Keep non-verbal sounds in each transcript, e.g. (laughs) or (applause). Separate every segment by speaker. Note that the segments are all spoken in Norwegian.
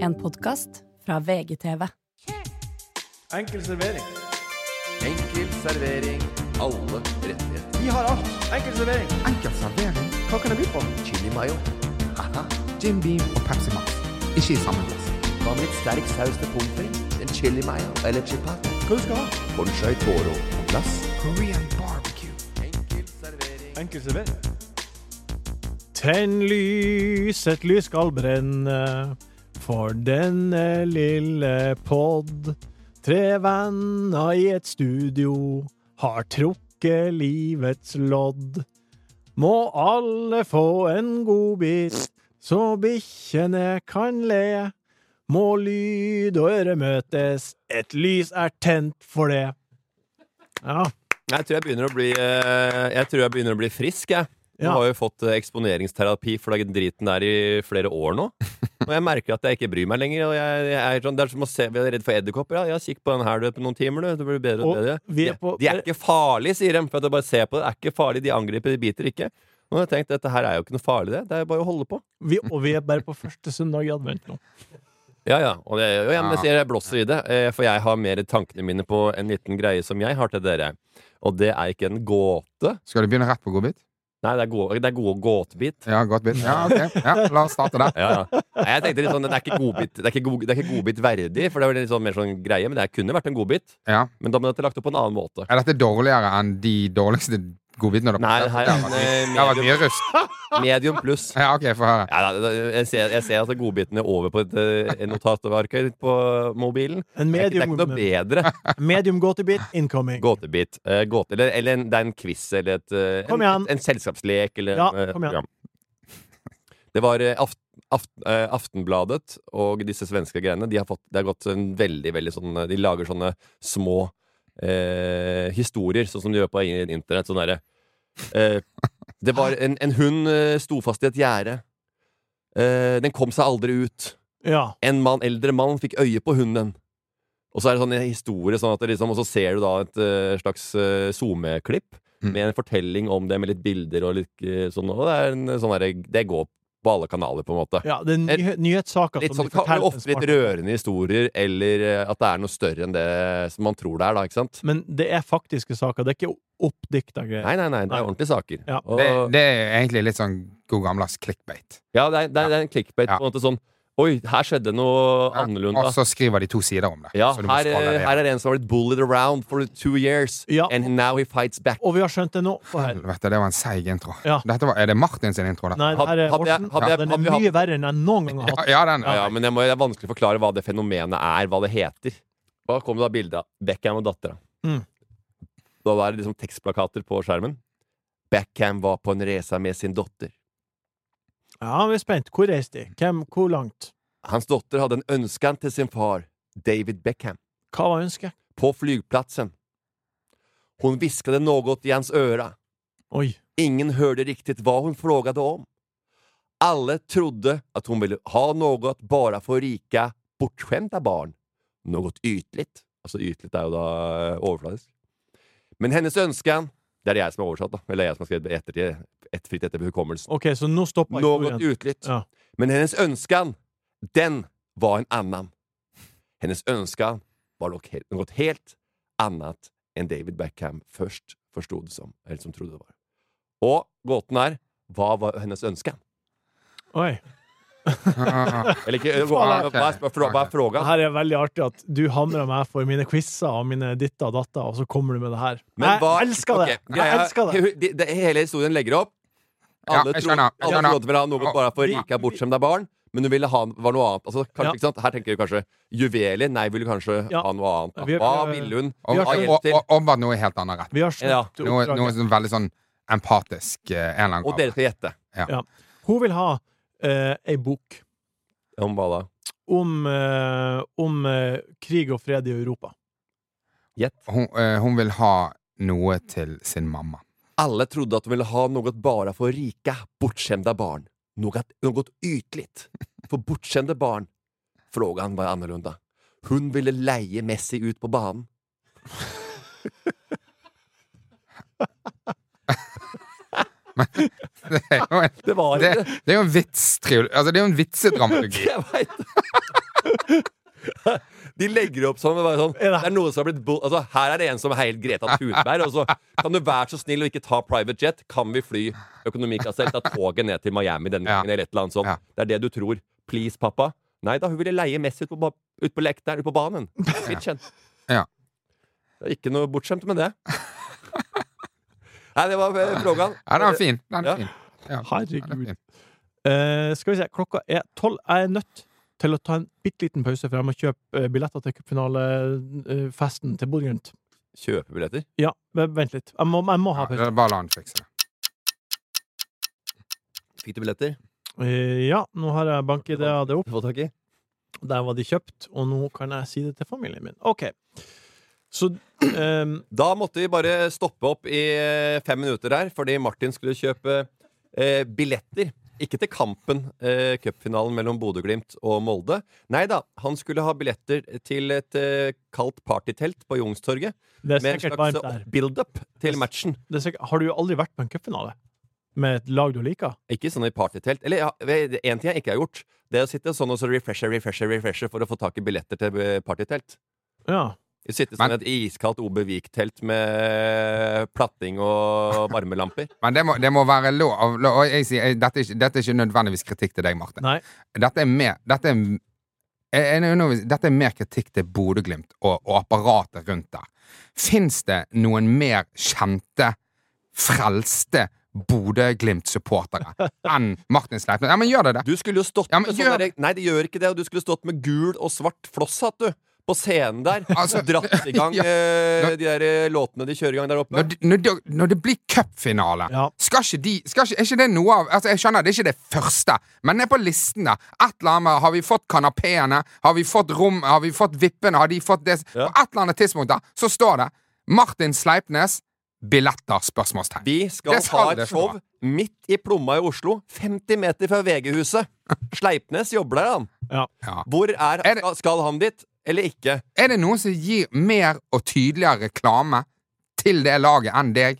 Speaker 1: En podkast fra VGTV.
Speaker 2: Enkel servering.
Speaker 3: Enkel servering. Alle rettigheter.
Speaker 2: Vi har alt. Enkel servering.
Speaker 4: Enkel servering,
Speaker 2: Hva kan jeg by på?
Speaker 3: Chili mayo. Haha.
Speaker 4: Jim Beam og Pepsi Max. Ikke i samme glass.
Speaker 3: Hva med litt sterk saus til pommes frites? En chili mayo eller chipat?
Speaker 2: Hva du skal ha?
Speaker 3: Bonchai toro på glass.
Speaker 4: Korean barbecue.
Speaker 3: Enkel servering.
Speaker 2: Enkel servering. Tenn lys, et lys skal brenne for denne lille podd. Tre venner i et studio har trukket livets lodd. Må alle få en godbit, så bikkjene kan le. Må lyd og øre møtes, et lys er tent for det. Ja.
Speaker 5: Jeg tror jeg begynner å bli, eh, jeg tror jeg begynner å bli frisk, jeg. Jeg
Speaker 2: Ja.
Speaker 5: har jo fått eh, eksponeringsterapi for den driten der i flere
Speaker 2: (laughs)
Speaker 5: år nå. Og jeg merker at jeg ikke bryr meg lenger. Og jeg, jeg er sånn, det er som å se, Jeg er redd for edderkopper. Ja, ja, kikk på den her du på noen timer, du. Det blir bedre
Speaker 2: Og
Speaker 5: og bedre.
Speaker 2: vi er
Speaker 5: De-
Speaker 2: på-
Speaker 5: de er ikke farlige, sier de. For at jeg bare ser på det. det. er ikke farlig, De angriper, de biter ikke. Og jeg har tenkt, dette her er jo ikke noe farlig, det. Det er jo bare å holde på.
Speaker 2: Vi, og vi er bare på første søndag i advent nå.
Speaker 5: Ja, ja. Og det, og jeg, men jeg
Speaker 2: Ah.
Speaker 4: Ja.
Speaker 5: sier jeg blåser i det, eh, for jeg har mer tankene mine på en liten greie som jeg har til dere. Og det er ikke en gåte.
Speaker 4: Skal du begynne rett på godbit?
Speaker 5: Nei, det er, gå, det er gå, gåtbit.
Speaker 4: Ja, godt bit. Ja, ok. Ja, la oss starte der.
Speaker 5: ja, ja. Nei, Jeg tenkte litt sånn, det er ikke godbit, det er ikke god, det er ikke godbit verdig, for det er vel litt sånn mer sånn greie, men det her kunne vært en godbit.
Speaker 4: Ja.
Speaker 5: Men da måtte jeg lagt opp på en annen måte.
Speaker 4: Er dette dårligere enn de dårligste godbitene? dere
Speaker 5: Nei,
Speaker 4: har
Speaker 5: her
Speaker 4: prøvd?
Speaker 5: er en
Speaker 4: Det har vært
Speaker 5: medium,
Speaker 4: mye rusk.
Speaker 5: medium pluss.
Speaker 4: Ja, ok, få høre.
Speaker 5: Ja, da, da, jeg, ser, jeg ser at godbiten er over på et eh, notatark her på mobilen.
Speaker 2: En
Speaker 5: Det er ikke- det er
Speaker 2: medium,
Speaker 5: ikke noe bedre
Speaker 2: medium gåtebit incoming.
Speaker 5: gåtebit. Eh, gåte, eller eller en, det er en quiz eller et, eh,
Speaker 2: Kom
Speaker 5: en,
Speaker 2: igjen.
Speaker 5: en selskapslek eller
Speaker 2: Ja,
Speaker 5: en, eh,
Speaker 2: kom igjen.
Speaker 5: program. Det var eh, aft, aft, eh, Aftenbladet og disse svenske greiene. De har, fått, de har gått en veldig, veldig sånn eh, De lager sånne små eh, historier, sånn som de gjør på in- internett. Sånn derre eh, Det var en, en hund eh, sto fast i et gjerde. Eh, den kom seg aldri ut.
Speaker 2: Ja.
Speaker 5: En mann, eldre mann fikk øye på hunden. Og så er det sånn en historie, sånn at det liksom, og så ser du da et eh, slags uh, SoMe-klipp
Speaker 4: Mm.
Speaker 5: med en fortelling om det, med litt bilder og litt eh, sånn. Og det, er en, sånn der, det går på alle kanaler, på en måte.
Speaker 2: ja det er nyh nyhetssaker
Speaker 5: Litt
Speaker 2: som
Speaker 5: sånn,
Speaker 2: de
Speaker 5: ka-
Speaker 2: forteller på en
Speaker 5: ofte litt
Speaker 2: smart-
Speaker 5: rørende historier, eller eh, at det er noe større enn det som man tror det er, da. ikke sant?
Speaker 2: Men det er faktiske saker, det er ikke oppdikta greier.
Speaker 5: Nei, nei, nei, det
Speaker 2: Nei.
Speaker 5: er ordentlige saker.
Speaker 2: Ja.
Speaker 5: Og,
Speaker 4: Det, det er egentlig litt sånn god gammeldags clickbait.
Speaker 5: ja, det, er, det, er, det er en clickbait
Speaker 4: Ja.
Speaker 5: på en måte sånn Oi, her skjedde noe
Speaker 4: Ja,
Speaker 5: annerledes.
Speaker 4: Og så skriver de to sider om det.
Speaker 5: Ja,
Speaker 4: så du må
Speaker 5: her,
Speaker 4: scrolle
Speaker 5: eh,
Speaker 4: ned.
Speaker 5: her er det en som har blitt bullied around for two years,
Speaker 2: Ja.
Speaker 5: and now he fights back.
Speaker 2: Og vi har skjønt det nå. Få her.
Speaker 4: Helvete, det var en seig intro.
Speaker 2: Ja.
Speaker 4: Dette var, er det Martin sin intro, da?
Speaker 2: Nei,
Speaker 5: Hadde-
Speaker 2: her er
Speaker 5: hadde jeg-
Speaker 2: Horsen.
Speaker 5: hadde jeg-
Speaker 2: Den
Speaker 5: hadde
Speaker 2: er
Speaker 5: jeg
Speaker 2: mye verre enn jeg noen gang har
Speaker 4: Ja,
Speaker 2: hatt.
Speaker 4: ja den.
Speaker 5: Ja, ja, men jeg må, det er vanskelig å forklare hva det fenomenet er, hva det heter. Da kom det da bildet av Beckham og dattera.
Speaker 2: Mm.
Speaker 5: Da var det liksom tekstplakater på skjermen. Beckham var på en reise med sin datter.
Speaker 2: Ja, vi er spent. Hvor reiste de? Hvem? Hvor langt?
Speaker 5: Hans datter hadde en ønskan til sin far, David Beckham,
Speaker 2: Hva var ønsket?
Speaker 5: på flygplatsen. Hun hviskade noe i hans øra.
Speaker 2: Oi.
Speaker 5: Ingen hørte riktigt hva hun frågade om. Alle trodde at hun ville ha noe bare for rika, bortskämda barn. Noe ytligt. Altså ytligt er jo da eh, overfladisk. Men hennes ønskan Det er det jeg som har oversatt, da. Eller jeg som har skrevet det etter, et fritt etter hukommelsen.
Speaker 2: OK, så nå stopper
Speaker 5: Noe
Speaker 2: historien.
Speaker 5: ytligt.
Speaker 2: Ja.
Speaker 5: Men hennes ønskan, den var en annan. Hennes ønskan var nok he- något helt annat enn David Beckham først forstod det som, eller som trodde det var. Og gåten er, hva var hennes ønskan?
Speaker 2: Oi. (laughs)
Speaker 4: ja.
Speaker 5: Eller ikke, eh,
Speaker 4: Faen,
Speaker 5: hva, hva, er spør- hva er
Speaker 2: Det
Speaker 5: frågan?
Speaker 2: her er veldig artig at du hamrer meg for mine quizer og mine ditter og datter, og så kommer du med det her.
Speaker 5: Men hva-
Speaker 2: jeg elsker det!
Speaker 5: ok,
Speaker 2: Jeg
Speaker 5: greia-
Speaker 2: elsker det!
Speaker 5: (laughs) he- de- de- Hele historien legger opp.
Speaker 4: Ja,
Speaker 5: Alle,
Speaker 4: jeg
Speaker 5: trodde-
Speaker 4: skjønner, jeg
Speaker 5: alle
Speaker 4: skjønner.
Speaker 5: trodde ville ha noe bare for
Speaker 2: Vi-
Speaker 5: rike, bortskjemte barn. Men hun ville ha var noe annet. Altså, kanskje,
Speaker 2: Ja.
Speaker 5: ikke sant? Her tenker du kanskje juveler. Nei, ville kanskje
Speaker 2: Ja.
Speaker 5: ha noe annet. da.
Speaker 2: Vi-
Speaker 5: Hva
Speaker 2: vi-
Speaker 5: ville hun?
Speaker 4: Og,
Speaker 2: Vi har
Speaker 4: og,
Speaker 2: skjønt.
Speaker 4: og, og, og bare noe helt annet rett.
Speaker 2: Vi har
Speaker 5: Ja.
Speaker 2: skjønt
Speaker 4: Noe,
Speaker 2: oppdraget.
Speaker 4: noe sånn veldig sånn empatisk eh, en eller
Speaker 5: Og
Speaker 4: annen
Speaker 5: dere skal gjette.
Speaker 2: Hun vil ha eh, ei bok
Speaker 5: Om hva da?
Speaker 2: om, eh, om eh, krig og fred i Europa.
Speaker 5: Gjett.
Speaker 4: grad. Hun, eh, hun vil ha noe til sin mamma. (laughs)
Speaker 5: Alle trodde at de ville ha noe bare for rika, bortskjemte barn. Noe, noe ytligt. For bortskjemte barn. Frågan var annorlunda. Hun ville leie Messi ut på banen.
Speaker 4: Det er jo en,
Speaker 5: Det var
Speaker 4: det,
Speaker 5: ikke det. (laughs)
Speaker 4: (laughs) det er jo en vits-dramaturgi. Altså, det er jo en vitsedramaturgi.
Speaker 5: Jeg veit det. De legger opp sånn. og Bare sånn.
Speaker 2: Ja.
Speaker 5: Det er noe som har blitt bo altså, Her er det en som er helt Greta Thunberg. Og så kan du være så snill å ikke ta private jet. Kan vi fly økonomikasse eller ta toget ned til Miami denne
Speaker 4: Ja.
Speaker 5: gangen? Eller et eller annet sånt.
Speaker 4: Ja.
Speaker 5: Det er det du tror. Please, pappa. Nei da, hun ville leie Messi ut på, ba- ut på lek der ute på banen. Bitchen.
Speaker 4: (laughs) Ja.
Speaker 5: Det er ikke noe bortskjemt med det.
Speaker 4: (laughs)
Speaker 5: Nei, det var eh, frågan.
Speaker 4: Ja, den er fin. Den er
Speaker 5: Ja.
Speaker 4: fin. Ja,
Speaker 2: Herregud.
Speaker 4: den er fin.
Speaker 2: Eh, skal vi se, klokka er tolv. Jeg er nødt til å ta en bitte liten pause, for jeg må kjøpe eh, billetter til cupfinalefesten til Bodø Glimt.
Speaker 5: Kjøpe billetter?
Speaker 2: Ja, men vent litt. Jeg må, jeg må
Speaker 4: Ja,
Speaker 2: ha
Speaker 4: det
Speaker 2: pause.
Speaker 4: er bare la han fikse det.
Speaker 5: Fikk du billetter?
Speaker 2: Eh, ja, nå har jeg bank-ID av det opp.
Speaker 5: Få tak i?
Speaker 2: Der var de kjøpt, og nå kan jeg si det til familien min. OK. Så eh,
Speaker 5: Da måtte vi bare stoppe opp i eh, fem minutter her, fordi Martin skulle kjøpe eh, billetter. Ikke til kampen, eh, cupfinalen mellom Bodø-Glimt og Molde. Nei da, han skulle ha billetter til et eh, kaldt partytelt på Youngstorget.
Speaker 2: det er
Speaker 5: Med en
Speaker 2: sikkert
Speaker 5: slags
Speaker 2: varmt der.
Speaker 5: eh, build-up til
Speaker 2: Yes.
Speaker 5: matchen.
Speaker 2: Det er sikkert, har du aldri vært på en cupfinale med et lag du liker?
Speaker 5: Ikke sånn i partytelt. Eller ja, ved- en ting jeg ikke har gjort, det er å sitte sånn og så refreshe, refreshe, refreshe for å få tak i billetter til eh, partytelt.
Speaker 2: Ja.
Speaker 5: Sitte
Speaker 4: Men-
Speaker 5: sånn i et iskaldt Obevik-telt med platting og varmelamper.
Speaker 4: Men det må, det må være lov. lov og jeg sier, jeg, dette, er ikke, dette er ikke nødvendigvis kritikk til deg, Martin.
Speaker 2: Nei.
Speaker 4: Dette er mer, dette er, jeg, jeg, nødvendigvis- dette er mer kritikk til Bodø-Glimt og, og apparatet rundt der. Fins det noen mer kjente, frelste
Speaker 2: (laughs)
Speaker 4: Bodø-Glimt-supportere enn Martin Sleipnes? Ja, men gjør det det?
Speaker 5: Du skulle jo stått
Speaker 4: Ja, men
Speaker 5: med sånn
Speaker 4: gjør-
Speaker 5: derre- Nei, det gjør ikke det. Og du skulle stått med gul og svart flosshatt, du. På scenen der.
Speaker 4: Altså-
Speaker 5: og dratt i gang
Speaker 4: (laughs) Ja.
Speaker 5: eh, de der eh, låtene de kjører i gang der oppe.
Speaker 4: Når, de- når, de- når det blir cupfinale,
Speaker 2: Ja.
Speaker 4: skal ikke de skal ikke, Er ikke det noe av Altså, Jeg skjønner, det er ikke det første, men det er på listen, da. Et eller annet med Har vi fått kanapeene? Har vi fått rom? Har vi fått vippene? Har de fått det
Speaker 5: Ja.
Speaker 4: På et eller annet tidspunkt, da, så står det Martin Sleipnes, billetter? Spørsmålstegn.
Speaker 5: Vi skal ha
Speaker 4: Det skal
Speaker 5: et
Speaker 4: det
Speaker 5: show
Speaker 4: være.
Speaker 5: midt i Plomma i Oslo. 50 meter fra
Speaker 4: (laughs)
Speaker 5: VG-huset. Sleipnes jobber der, han.
Speaker 2: ja.
Speaker 4: Ja.
Speaker 5: Hvor er,
Speaker 4: Er det-
Speaker 5: skal- Skal han dit, eller ikke?
Speaker 4: Er det noen som gir mer og tydeligere reklame til det laget enn deg?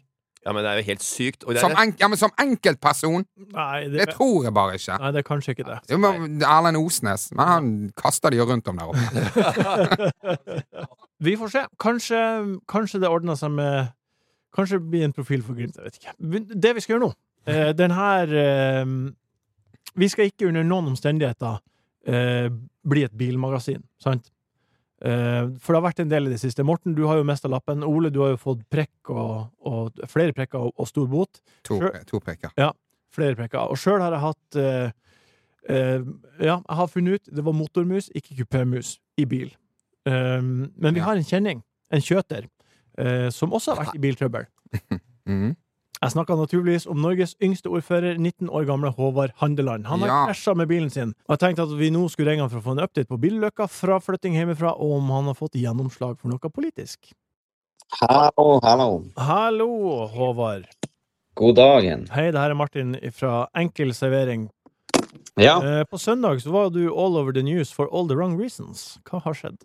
Speaker 5: Ja, men Det er jo helt sykt. Og det er,
Speaker 4: Som, en, ja, men som enkeltperson?
Speaker 2: Nei,
Speaker 4: Det
Speaker 2: det,
Speaker 4: tror jeg bare ikke.
Speaker 2: nei, det er kanskje ikke det.
Speaker 4: Jo, men Erlend Osnes. Men han kaster de jo rundt om der oppe.
Speaker 5: (laughs)
Speaker 2: Vi får se. Kanskje, kanskje det ordner seg med Kanskje det blir en profil for Glimt. Jeg vet ikke. Men Det vi skal gjøre nå eh, Den her eh, Vi skal ikke under noen omstendigheter eh, bli et bilmagasin, sant? Eh, for det har vært en del i det siste. Morten, du har jo mista lappen. Ole, du har jo fått prekk og, og flere prekker og, og stor bot.
Speaker 4: To,
Speaker 2: Sure.
Speaker 4: to prikker.
Speaker 2: Flere prekker. Og sjøl har jeg hatt eh, eh, Ja, jeg har funnet ut det var motormus, ikke kupémus, i bil. Um, men vi
Speaker 4: Ja.
Speaker 2: har en kjenning, en kjøter, eh, som også har vært i biltrøbbel.
Speaker 4: Mhm.
Speaker 2: Jeg snakka naturligvis om Norges yngste ordfører, 19 år gamle Håvard Handeland. Han har
Speaker 4: Ja.
Speaker 2: krasja med bilen sin, og jeg tenkte at vi nå skulle ringe han for å få en update på billøkka, fraflytting hjemmefra, og om han har fått gjennomslag for noe politisk.
Speaker 6: Hallo, hallo.
Speaker 2: Hallo, Håvard.
Speaker 6: God dagen.
Speaker 2: Hei, det her er Martin fra Enkel servering
Speaker 6: Ja,
Speaker 2: Eh, På søndag så var du all over the news for all the wrong reasons. Hva har skjedd?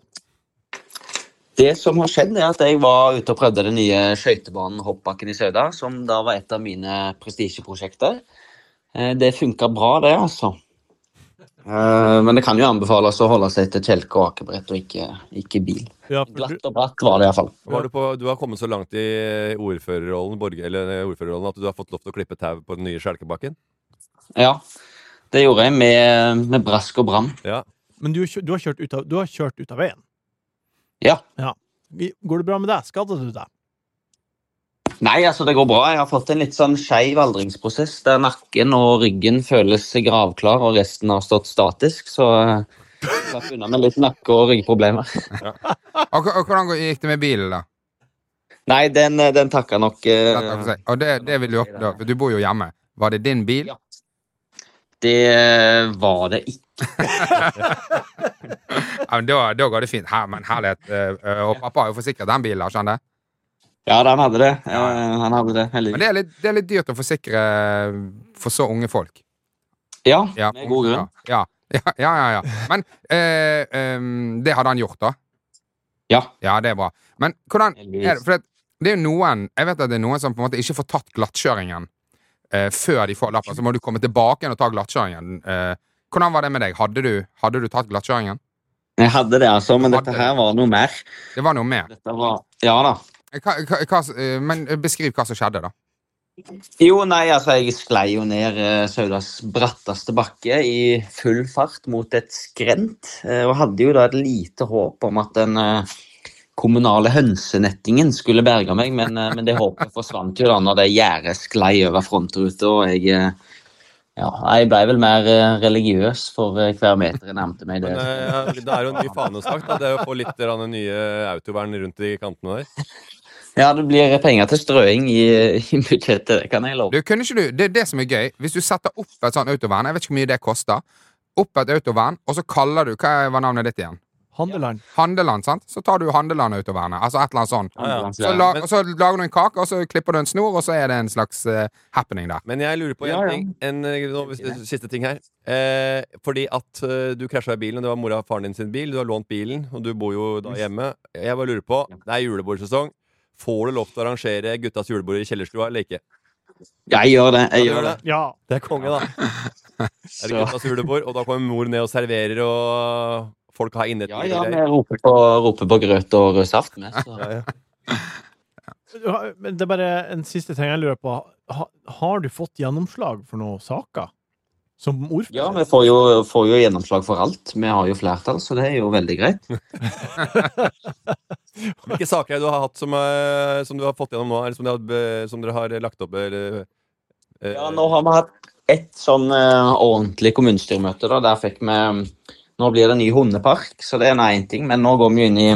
Speaker 6: det som har skjedd er at jeg var ute og prøvde den nye skøytebanen Hoppbakken i Sauda, som da var et av mine prestisjeprosjekter. Eh, Det funka bra, det, altså. Eh, Men det kan jo anbefales å holde seg til kjelke og akebrett og ikke, ikke bil.
Speaker 2: Ja, for du,
Speaker 6: Glatt og bratt var det iallfall.
Speaker 5: Var du, på, du har kommet så langt i ordførerrollen, borger, eller eh, ordførerrollen at du har fått lov til å klippe tau på den nye Skjelkebakken?
Speaker 6: Ja. Det gjorde jeg med, med brask og bram.
Speaker 5: Ja.
Speaker 2: men du, kjø- du, har kjørt ut av, du har kjørt ut av veien.
Speaker 6: Ja.
Speaker 2: Vi- Går det bra med deg? Skadet du deg?
Speaker 6: Nei, altså det går bra. Jeg har fått en litt sånn skeiv aldringsprosess der nakken og ryggen føles gravklar, og resten har stått statisk, så eh, jeg slapp unna med litt nakke- og ryggproblemer. (laughs)
Speaker 4: Og, og hvordan gikk det med bilen, da?
Speaker 6: Nei, den, eh, den takka nok eh,
Speaker 4: Rett og slett. Og det, det vil du opp, da, for du bor jo hjemme. Var det din bil?
Speaker 6: Ja. Det eh, var det ikke.
Speaker 4: Ja, men da, da går det fint. Her, men herlighet. eh, eh, Og pappa har jo forsikret den bilen, har ikke han det?
Speaker 6: Ja, da, han hadde det. Ja, eh, han hadde det,
Speaker 4: Men
Speaker 6: heldigvis.
Speaker 4: det er, litt, det er litt dyrt å forsikre eh, for så unge folk.
Speaker 6: Ja,
Speaker 4: Ja,
Speaker 6: med god grunn.
Speaker 4: Ja, ja, ja. ja, ja. Men eh, em, det hadde han gjort, da?
Speaker 6: Ja,
Speaker 4: Ja, det er bra. Men hvordan er det?
Speaker 6: heldigvis.
Speaker 4: For det, det er jo noen Jeg vet at det er noen som på en måte ikke får tatt glattkjøringen eh, før de får lappen. Så må du komme tilbake igjen og ta glattkjøringen. Eh, hvordan var det med deg? Hadde du, hadde du tatt glattkjøringen?
Speaker 6: Jeg hadde det, altså, men
Speaker 4: Hadde
Speaker 6: dette her var noe mer.
Speaker 4: Det var noe mer.
Speaker 6: Dette var Ja da.
Speaker 4: Hva, hva, hva, eh, men beskriv hva som skjedde, da.
Speaker 6: Jo, nei, altså, jeg sklei jo ned eh, Saudas bratteste bakke i full fart mot et skrent, eh, og hadde jo da et lite håp om at den eh, kommunale hønsenettingen skulle berge meg, men, eh, men det håpet forsvant jo da når det gjerdet sklei over frontruta, og jeg eh, ja, jeg ble vel mer eh, religiøs for eh, hver meter jeg nærmete meg.
Speaker 5: Men
Speaker 6: Det.
Speaker 5: eh, det er jo en ny fanesak. da. Det er jo å få litt grann nye autovern rundt i kantene der.
Speaker 6: Ja, det blir penger til strøing i, i budsjettet, det kan jeg love.
Speaker 4: Du, kunne ikke du, det er det som er gøy. Hvis du setter opp et sånt autovern, jeg vet ikke hvor mye det koster, opp et autovern, og så kaller du Hva var navnet ditt igjen?
Speaker 2: Handeland.
Speaker 4: Handeland, sant? Så tar du Handeland-autovernet. Altså et eller annet sånt.
Speaker 5: Ja, ja.
Speaker 4: Så, la, og så lager du en kake, og så klipper du en snor, og så er det en slags eh, happening der.
Speaker 5: Men jeg lurer på en
Speaker 6: Ja, ja.
Speaker 5: ting. En, eh, nå, hvis- eh, siste ting her. Eh, fordi at eh, du krasja i bilen, og det var mora og faren din sin bil. Du har lånt bilen, og du bor jo da hjemme. Jeg bare lurer på Det er julebordsesong. Får du lov til å arrangere guttas julebord i kjellerstua eller ikke?
Speaker 6: Ja, jeg gjør det.
Speaker 5: Ja,
Speaker 6: Jeg
Speaker 5: du
Speaker 6: gjør det.
Speaker 2: Ja.
Speaker 5: Det er konge, da. Er det
Speaker 6: Så-
Speaker 5: guttas julebord, og da kommer mor ned og serverer, og folk har innetid.
Speaker 6: Ja,
Speaker 5: og
Speaker 6: ja,
Speaker 5: greier.
Speaker 6: vi roper på, roper på grøt og rød saft med. Så.
Speaker 2: Men det er bare en siste ting jeg lurer på. Ha, har du fått gjennomslag for noen saker? Som ordfører?
Speaker 6: (laughs) Ja, vi får jo, får jo gjennomslag for alt. Vi har jo flertall, så det er jo veldig greit.
Speaker 5: Hvilke saker er det du har hatt som, eh, som du har fått gjennom nå, eller som, du har, eh, som dere har lagt opp? Eller, eh,
Speaker 6: Ja, nå har vi hatt ett sånn eh, ordentlig kommunestyremøte, da. Der fikk vi Nå blir det ny hundepark, så det er nå én ting, men nå går vi jo inn i,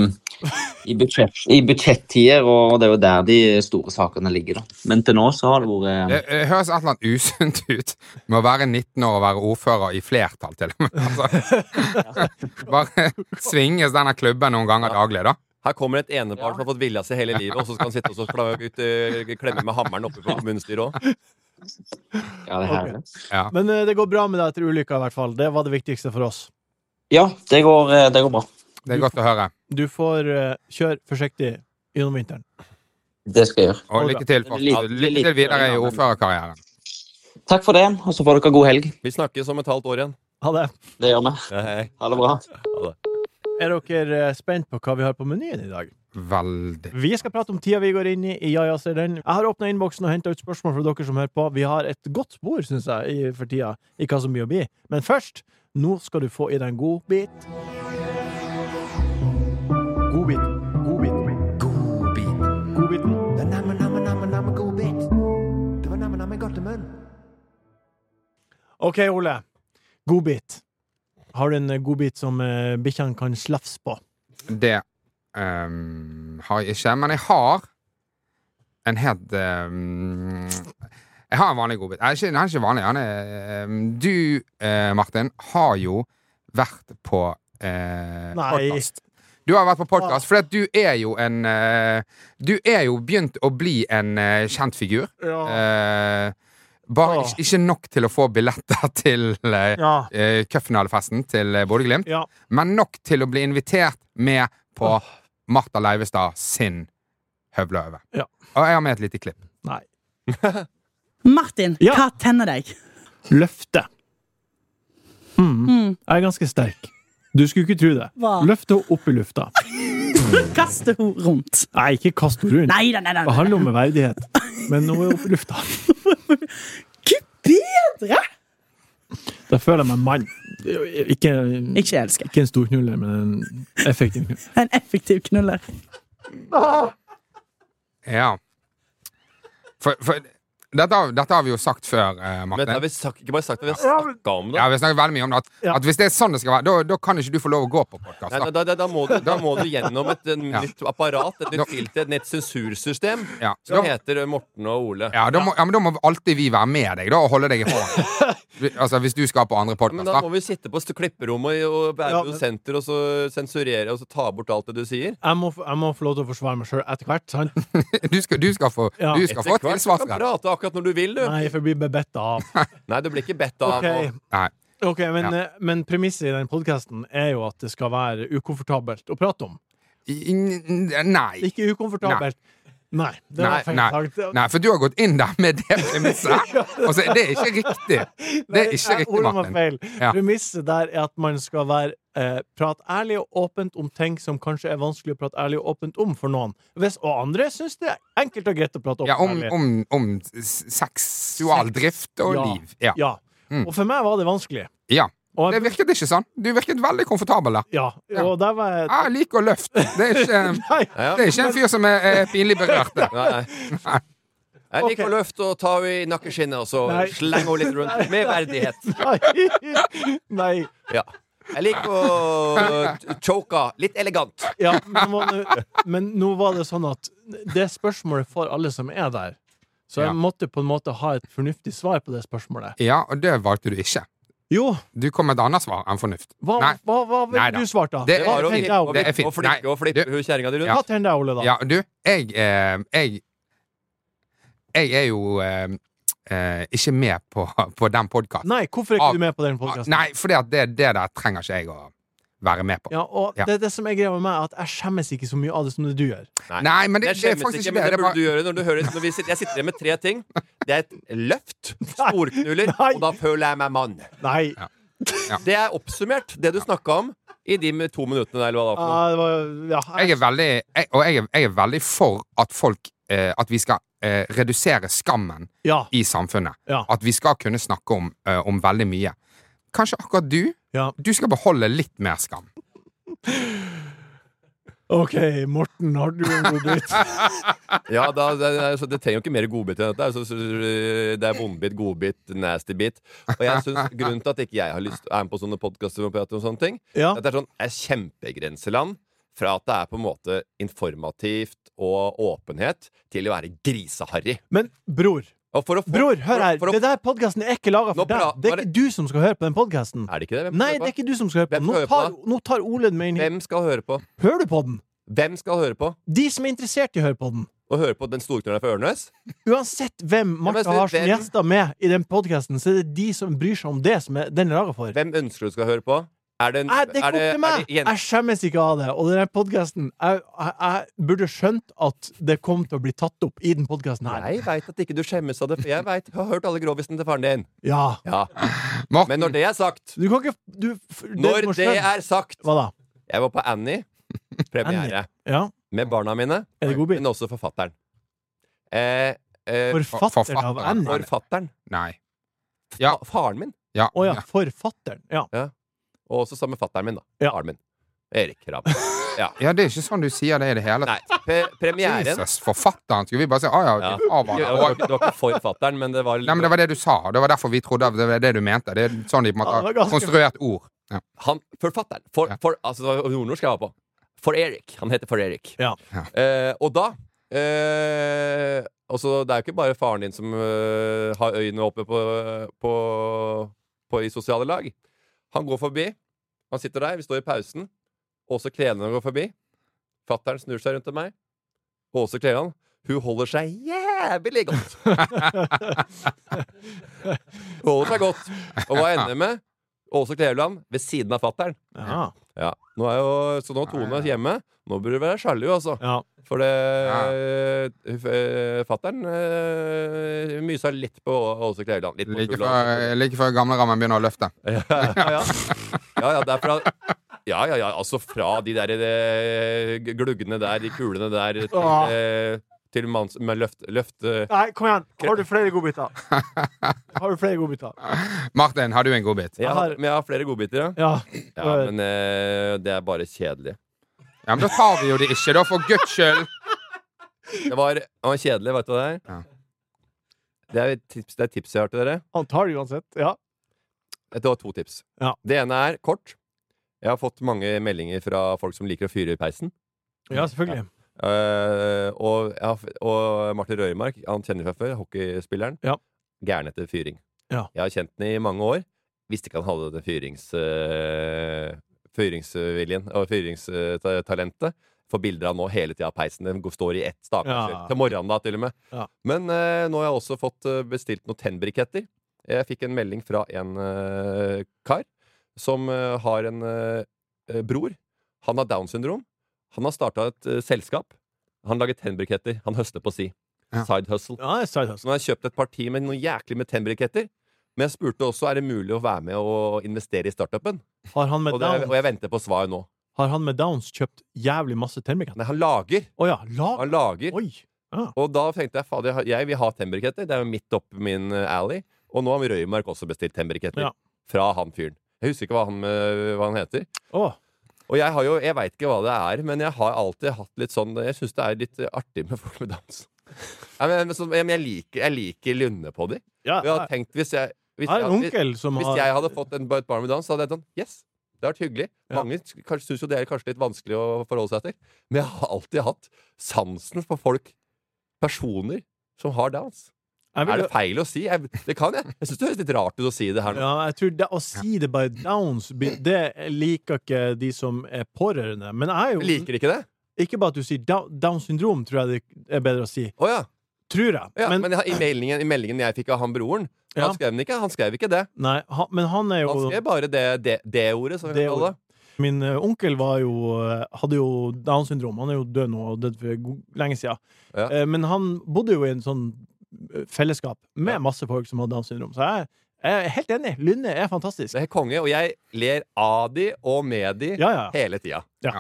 Speaker 6: i, budsjett, i budsjettider, og det er jo der de store sakene ligger, da. Men til nå så har det vært
Speaker 4: Det, det høres et eller annet usunt (laughs) ut med å være 19 år og være ordfører i flertall, til og med. Altså, bare (laughs) svinges denne klubben noen ganger daglig, da.
Speaker 5: Her kommer et enepar som har fått vilja si hele livet, og så skal han sitte og så kla- ut, eh, klemme med hammeren oppe på kommunestyret òg.
Speaker 6: Ja, det er herlig.
Speaker 2: Men eh, det går bra med deg etter ulykka, i hvert fall. Det var det viktigste for oss.
Speaker 6: Ja, det går, eh, det går bra.
Speaker 4: Det er godt å høre.
Speaker 2: Du får eh, kjøre forsiktig gjennom vinteren.
Speaker 6: Det skal jeg gjøre.
Speaker 4: Og lykke til,
Speaker 6: Litt-
Speaker 4: fortsatt. lykke til videre i ordførerkarrieren.
Speaker 6: Takk for det, og så får dere god helg.
Speaker 5: Vi snakkes om et halvt år igjen.
Speaker 2: Ha det.
Speaker 6: Det gjør vi. Ha det bra.
Speaker 2: Er dere eh, spent på hva vi har på menyen i dag?
Speaker 4: Veldig.
Speaker 2: Vi skal prate om tida vi går inn i. i Ja, ja, ser den. Jeg har åpna innboksen og henta ut spørsmål fra dere som hører på. Vi har et godt spor, syns jeg, i- for tida, i hva som blir å bli. Men først, nå skal du få i deg en godbit. Godbit. Godbit. Godbiten. OK, Ole. Godbit. Har du en eh, godbit som eh, bikkjene kan slafse på?
Speaker 4: Det ehm, har jeg ikke, men jeg har en helt ehm, Jeg har en vanlig godbit. Nei, ikke, han er ikke vanlig. Han er, ehm, du, eh, Martin, har jo vært på uh,
Speaker 2: Nei.
Speaker 4: podkast. Du har vært på podkast, for at du er jo en eh, Du er jo begynt å bli en eh, kjent figur. Eh, bare
Speaker 2: Åh.
Speaker 4: ikke, ikke nok til å få billetter (laughs) til eh,
Speaker 2: Ja.
Speaker 4: eh, cupfinalefesten til eh, Bodø-Glimt,
Speaker 2: Ja.
Speaker 4: men nok til å bli invitert med på Martha Leivestad sin høvløve.
Speaker 2: Ja.
Speaker 4: Og jeg har med et lite klipp.
Speaker 2: Nei.
Speaker 7: Martin,
Speaker 2: Ja.
Speaker 7: hva tenner deg?
Speaker 2: Løfte. Mm. Jeg er ganske sterk. Du skulle ikke tro det.
Speaker 7: Hva?
Speaker 2: Løfte henne opp i lufta.
Speaker 7: Kaster hun rundt?
Speaker 2: Nei, ikke kast henne rundt.
Speaker 7: Nei, nei, nei.
Speaker 2: Det
Speaker 7: nei.
Speaker 2: handler om verdighet. Men nå er hun oppe i lufta.
Speaker 7: Gud bedre!
Speaker 2: Da føler jeg meg mann. Ikke,
Speaker 7: Ikke elsker.
Speaker 2: ikke en storknuller, men en effektiv knuller.
Speaker 7: En effektiv knuller.
Speaker 4: Ja. For, for dette, har- dette har vi jo sagt før, eh,
Speaker 5: Men har
Speaker 4: Martin.
Speaker 5: vi sagt, ikke bare sagt det, vi har snakka om det.
Speaker 4: Ja, vi har snakket veldig mye om det. At,
Speaker 2: Ja.
Speaker 4: at hvis det er sånn det skal være, da, da kan ikke du få lov å gå på podkast.
Speaker 5: Nei, da, da, da, da, må du, da må du gjennom et eh, nytt apparat, et
Speaker 4: Da-
Speaker 5: nytt filter, et nytt sensursystem,
Speaker 4: Ja.
Speaker 5: som
Speaker 4: Da-
Speaker 5: heter eh, Morten og Ole.
Speaker 4: Ja, da må, ja, men da må alltid vi være med deg da, og holde deg i
Speaker 5: (laughs)
Speaker 4: hånden. Vi- altså, hvis du skal på andre
Speaker 5: Men da
Speaker 4: podkaster.
Speaker 5: må vi sitte på st- klipperommet og være
Speaker 2: Ja, men-
Speaker 5: produsenter og så sensurere og så ta bort alt det du sier.
Speaker 2: Jeg må, jeg må få lov til å forsvare meg sjøl etter hvert. Sant?
Speaker 4: (laughs) Du skal, du skal få,
Speaker 2: Ja.
Speaker 4: du skal få
Speaker 5: Etter hvert så kan du
Speaker 4: tilsvarsrett.
Speaker 5: prate akkurat når du vil, du. Nei,
Speaker 2: Nei, for jeg blir bebetta av.
Speaker 5: du blir ikke bedt av.
Speaker 2: Ok,
Speaker 4: Nei.
Speaker 2: ok, men,
Speaker 4: Ja.
Speaker 2: eh, men premisset i den podkasten er jo at det skal være ukomfortabelt å prate om.
Speaker 4: I- i- Nei.
Speaker 2: Ikke ukomfortabelt. Nei, det var
Speaker 4: Nei,
Speaker 2: feil
Speaker 4: nei,
Speaker 2: sagt. Det-
Speaker 4: Nei, for du har gått inn der med
Speaker 2: (laughs)
Speaker 4: det premisset. Og så, det er ikke riktig. Det
Speaker 2: Nei,
Speaker 4: er ikke
Speaker 2: jeg-
Speaker 4: riktig,
Speaker 2: ordene var
Speaker 4: Martin.
Speaker 2: feil.
Speaker 4: Ja.
Speaker 2: Premisset der er at man skal være eh, prate ærlig og åpent om ting som kanskje er vanskelig å prate ærlig og åpent om for noen. Hvis, og andre syns det er enkelt og greit å prate åpent
Speaker 4: Ja, om,
Speaker 2: ærlig.
Speaker 4: om, om s- seksual
Speaker 2: Sex.
Speaker 4: drift og
Speaker 2: Ja.
Speaker 4: liv. Ja.
Speaker 2: Ja.
Speaker 4: Mm.
Speaker 2: Og for meg var det vanskelig.
Speaker 4: ja.
Speaker 2: Og,
Speaker 4: Det
Speaker 2: jeg,
Speaker 4: virket ikke sånn. Du virket veldig komfortabel der.
Speaker 2: ja,
Speaker 4: Ja. Ah!
Speaker 2: og der var jeg
Speaker 4: Jeg liker å løfte. Det er ikke,
Speaker 2: Nei!
Speaker 5: Ja,
Speaker 4: det
Speaker 5: ja.
Speaker 4: er ikke en fyr som er, er pinlig berørt. det.
Speaker 5: (laughs) Nei, nei. Jeg liker å løfte og ta henne i nakkeskinnet og så
Speaker 2: Nei.
Speaker 5: slenge henne litt rundt. Med
Speaker 2: (laughs) Nei.
Speaker 5: verdighet.
Speaker 4: (laughs)
Speaker 2: Nei.
Speaker 5: Ja. Jeg liker å t- choke henne litt elegant.
Speaker 2: Ja, men, må, nå- men nå var det sånn at det spørsmålet får alle som er der. Så jeg
Speaker 4: Ja.
Speaker 2: måtte på en måte ha et fornuftig svar på det spørsmålet.
Speaker 4: Ja, og det valgte du ikke.
Speaker 2: Jo,
Speaker 4: Du kom med et annet svar enn fornuft.
Speaker 2: hva,
Speaker 4: Nei.
Speaker 2: hva, hva
Speaker 4: Nei
Speaker 2: ville
Speaker 4: da.
Speaker 2: du svart, da?
Speaker 4: Det
Speaker 5: Det
Speaker 2: Hva
Speaker 5: var å
Speaker 2: tenkte
Speaker 5: vippe
Speaker 2: jeg
Speaker 5: og
Speaker 2: om?
Speaker 4: Det er
Speaker 5: vippe og
Speaker 4: fint.
Speaker 5: flikke og flippe
Speaker 4: Nei.
Speaker 5: hun kjerringa di
Speaker 2: Hva
Speaker 5: rundt.
Speaker 2: tenker deg, Ole, da?
Speaker 4: Ja, du, jeg eh, Jeg, jeg er jo eh, eh, ikke med på, på den podkasten.
Speaker 2: Nei, hvorfor er ikke
Speaker 4: Av-
Speaker 2: du med på den podkasten?
Speaker 4: Ah, Nei, for det, det der trenger ikke jeg å være med på.
Speaker 2: Ja, og
Speaker 4: Ja.
Speaker 2: Det, det som er greia med meg, er at jeg skjemmes ikke så mye av det som det du gjør.
Speaker 4: Nei, men
Speaker 5: Jeg
Speaker 4: det, det er
Speaker 5: skjemmes
Speaker 4: faktisk
Speaker 5: ikke, men
Speaker 4: ikke det.
Speaker 5: det
Speaker 4: det er
Speaker 5: burde du
Speaker 4: bare,
Speaker 5: gjøre når du hører når vi sitter, Jeg sitter igjen med tre ting. Det er et løft, sporknuller,
Speaker 2: Nei.
Speaker 5: og da føler jeg meg mann.
Speaker 2: Nei.
Speaker 4: Ja.
Speaker 5: Det er oppsummert, det du snakka om, i de med to minuttene der. Eller hva det var for noe.
Speaker 2: Ja, det var, ja,
Speaker 4: jeg er veldig, jeg, og jeg er, jeg er veldig for at folk eh, At vi skal eh, redusere skammen
Speaker 2: ja,
Speaker 4: i samfunnet.
Speaker 2: Ja.
Speaker 4: At vi skal kunne snakke om, eh, om veldig mye. Kanskje akkurat du
Speaker 2: ja.
Speaker 4: Du skal beholde litt mer skam.
Speaker 2: OK, Morten, har du en godbit?
Speaker 5: Ja, da, det, det- så det trenger jo ikke mer godbit enn dette. Så, så, det er vondbit, godbit, nasty bit. Og jeg synes, Grunnen til at ikke jeg har lyst er med på sånne podkaster, og sånne ting,
Speaker 2: Ja.
Speaker 5: At det er sånn er kjempegrenseland fra at det er på en måte informativt og åpenhet, til å være griseharry.
Speaker 2: Men bror,
Speaker 5: Og for å få-
Speaker 2: bror, hør her.
Speaker 5: for å-
Speaker 2: Det der podkasten er ikke laga
Speaker 5: Nå
Speaker 2: for
Speaker 5: pra-
Speaker 2: deg. Det er
Speaker 5: bare-
Speaker 2: ikke du som skal høre på den podkasten.
Speaker 5: Er det ikke det? Hvem,
Speaker 2: Nei, det er ikke du som skal høre på
Speaker 5: Hvem
Speaker 2: den. Nå
Speaker 5: hører på
Speaker 2: tar, nå tar Ole den med inn hit.
Speaker 5: Hvem skal høre på?
Speaker 2: Hører du på den?
Speaker 5: Hvem skal høre på?
Speaker 2: De som er interessert i å høre på den.
Speaker 5: Å høre på den storknølla fra Ørnes?
Speaker 2: Uansett hvem
Speaker 5: men
Speaker 2: Martha
Speaker 5: så
Speaker 2: har som
Speaker 5: hvem-
Speaker 2: gjester med i den podkasten, så er det de som bryr seg om det, som er, den er laga for.
Speaker 5: Hvem ønsker du skal høre på? Er det en,
Speaker 2: Nei, det
Speaker 5: er
Speaker 2: kom
Speaker 5: det,
Speaker 2: til
Speaker 5: er
Speaker 2: meg!
Speaker 5: det jen-
Speaker 2: Jeg skjemmes ikke av det. Og denne podkasten jeg, jeg, jeg burde skjønt at det kom til å bli tatt opp i den podkasten her.
Speaker 5: Jeg veit at ikke du skjemmes av det, for jeg, vet, jeg har hørt alle grovisene til faren din.
Speaker 2: Ja.
Speaker 5: Ja.
Speaker 4: Morten,
Speaker 5: Men når det er sagt
Speaker 2: Du kan ikke du, f- det
Speaker 5: Når
Speaker 2: som
Speaker 5: det
Speaker 2: skjedd-
Speaker 5: er sagt
Speaker 2: Hva da?
Speaker 5: Jeg var på Annie. Premiere.
Speaker 2: Ja.
Speaker 5: Med barna mine,
Speaker 2: Er det godbit?
Speaker 5: men også forfatteren. Eh, eh,
Speaker 2: Forfatteren
Speaker 4: forfatteren.
Speaker 2: av Annie?
Speaker 5: forfatteren.
Speaker 4: Nei.
Speaker 5: Ja. Faren min.
Speaker 4: Ja.
Speaker 2: Å ja. Forfatteren. Ja.
Speaker 5: Og også sammen med fatteren min, da.
Speaker 2: Ja.
Speaker 5: Faren min. Erik Ramm. Ja.
Speaker 4: ja, det er ikke sånn du sier det i det hele tatt.
Speaker 5: Nei, pre premieren
Speaker 4: Jesus, forfatteren. Skulle vi bare si ah, ja,
Speaker 5: Ja.
Speaker 4: du
Speaker 5: Det
Speaker 4: avhandler.
Speaker 5: var ikke- det var ikke for fatteren, men det var
Speaker 4: Nei, men Det var det du sa, og det var derfor vi trodde det var det du mente. Det er sånn de på en måte
Speaker 2: Ja, det var
Speaker 4: har
Speaker 2: ganske-
Speaker 4: konstruert ord. Ja.
Speaker 5: han, For fatteren. For,
Speaker 4: Ja.
Speaker 5: for, altså, det var nordnorsk jeg var på. For Erik. Han heter For Erik.
Speaker 2: Ja.
Speaker 4: Ja.
Speaker 5: Eh, og da eh, Altså, det er jo ikke bare faren din som eh, har øynene åpne på, på, på i sosiale lag. Han går forbi. Han sitter der, vi står i pausen. Åse Kleveland går forbi. Fattern snur seg rundt til meg. Åse Kleveland, hun holder seg jævlig
Speaker 4: (laughs)
Speaker 5: godt. Hun holder seg godt. Og hva ender med? Åse Kleveland ved siden av fattern.
Speaker 2: ja.
Speaker 5: Ja. Nå er jo, så nå er Tone hjemme. Nå burde du være sjalu, altså.
Speaker 2: ja.
Speaker 5: For det ja. Fattern eh, mysa litt på Åse Kleveland. Litt på
Speaker 4: Like
Speaker 5: full
Speaker 4: før,
Speaker 5: Åse.
Speaker 4: like før gamlerammen begynner å løfte.
Speaker 5: Ja, (laughs) ja, ja. ja, ja, det er fra Ja, ja, ja, altså fra de der eh, gluggene der, de kulene der, til,
Speaker 2: Åh.
Speaker 5: eh, til manns... Med løft... løft eh.
Speaker 2: Nei, kom igjen. Har du flere
Speaker 5: (laughs)
Speaker 2: godbiter? Har du flere godbiter?
Speaker 4: Martin, har du en godbit?
Speaker 5: jeg
Speaker 2: har-
Speaker 5: har, men jeg har flere godbiter, ja.
Speaker 2: Ja.
Speaker 5: ja men eh, det er bare kjedelig.
Speaker 4: Ja, men Da tar vi jo det ikke, da, for guds skyld!
Speaker 5: Det var, det var kjedelig, vet du hva det er?
Speaker 4: Ja.
Speaker 5: Det er et tips, det er et tips jeg har til dere.
Speaker 2: Han tar det uansett. Ja.
Speaker 5: Det var to tips.
Speaker 2: Ja.
Speaker 5: Det ene er kort. Jeg har fått mange meldinger fra folk som liker å fyre i peisen.
Speaker 2: Ja, selvfølgelig.
Speaker 5: Eh, og, jeg har f- og Martin Røymark, han kjenner fra før, hockeyspilleren.
Speaker 2: Ja.
Speaker 5: Gæren etter fyring.
Speaker 2: Ja.
Speaker 5: Jeg har kjent den i mange år. Visste ikke han hadde det fyrings, eh, fyringsviljen og fyringstalentet. Får bilder av nå hele tida av peisen. Den går- står i ett stakasje.
Speaker 2: Ja.
Speaker 5: Til morgenen, da, til og med.
Speaker 2: Ja.
Speaker 5: Men eh, nå har jeg også fått eh, bestilt noen tennbriketter. Jeg fikk en melding fra en eh, kar som eh, har en eh, eh, bror. Han har Downs syndrom. Han har starta et eh, selskap Han lager tennbriketter. Han høster på si.
Speaker 4: Ja.
Speaker 5: Side hustle.
Speaker 2: Ja, det er side
Speaker 5: Så
Speaker 2: hustle.
Speaker 5: nå har jeg kjøpt et parti med noe jæklig med tennbriketter. Men jeg spurte også er det mulig å være med og investere i startupen.
Speaker 2: Har han
Speaker 5: Og,
Speaker 2: med
Speaker 5: det, og
Speaker 2: downs,
Speaker 5: jeg venter på svar nå.
Speaker 2: har han med downs kjøpt jævlig masse tennbriketter?
Speaker 5: Nei, han lager.
Speaker 2: Å ja. Lag.
Speaker 5: Han lager.
Speaker 2: Oi. Ja.
Speaker 5: Og da tenkte jeg fader, jeg har- jeg vil ha tennbriketter. Det er jo midt opp min eh, alley. Og nå har Røymark også bestilt tennbriketter.
Speaker 2: Ja.
Speaker 5: Fra han fyren. Jeg husker ikke hva han, eh, hva han heter.
Speaker 2: Å,
Speaker 5: Og jeg har jo, jeg veit ikke hva det er, men jeg har alltid hatt litt sånn Jeg syns det er litt eh, artig med folk med dans. Nei, men, men, så, men jeg liker, jeg liker lunde på de.
Speaker 2: ja.
Speaker 5: Og Jeg har tenkt, hvis jeg, hvis
Speaker 2: Jeg har
Speaker 5: jeg,
Speaker 2: en
Speaker 5: hvis,
Speaker 2: onkel som
Speaker 5: hvis
Speaker 2: har
Speaker 5: jeg hadde fått en, et barn med dans, så hadde jeg sånn Yes, det har vært hyggelig.
Speaker 2: Ja.
Speaker 5: Mange kanskje syns jo det er kanskje litt vanskelig å forholde seg til, men jeg har alltid hatt sansen for folk, personer, som har dans.
Speaker 2: jeg vil-
Speaker 5: Er det feil å si? Jeg, det kan jeg. Jeg syns det høres litt rart ut å si det her nå.
Speaker 2: Ja, jeg tror det, Å si det by downs, be- det liker ikke de som er pårørende. Men jeg er jo
Speaker 5: Liker ikke det?
Speaker 2: Ikke bare at du sier down, down syndrom, tror jeg det er bedre å si.
Speaker 5: Å ja.
Speaker 2: Tror jeg.
Speaker 5: ja. Men,
Speaker 2: men,
Speaker 5: i, meldingen, i meldingen jeg fikk av han broren,
Speaker 2: Ja.
Speaker 5: han skrev den ikke. Han skrev ikke det.
Speaker 2: nei, han, men han er
Speaker 5: Han
Speaker 2: jo
Speaker 5: skrev bare det, det, det ordet, som vi
Speaker 2: Det
Speaker 5: kaller det.
Speaker 2: Min eh, onkel var jo, eh, hadde jo Downs syndrom. Han er jo død nå, og død for go- lenge siden.
Speaker 5: Ja.
Speaker 2: Eh, Men han bodde jo i en sånn eh, fellesskap med
Speaker 5: Ja.
Speaker 2: masse folk som hadde Downs syndrom. Så jeg, jeg er helt enig. Lunde er fantastisk.
Speaker 5: Det er helt konge. Og jeg ler av de og med de
Speaker 2: Ja, ja.
Speaker 5: hele tida.
Speaker 4: Jeg,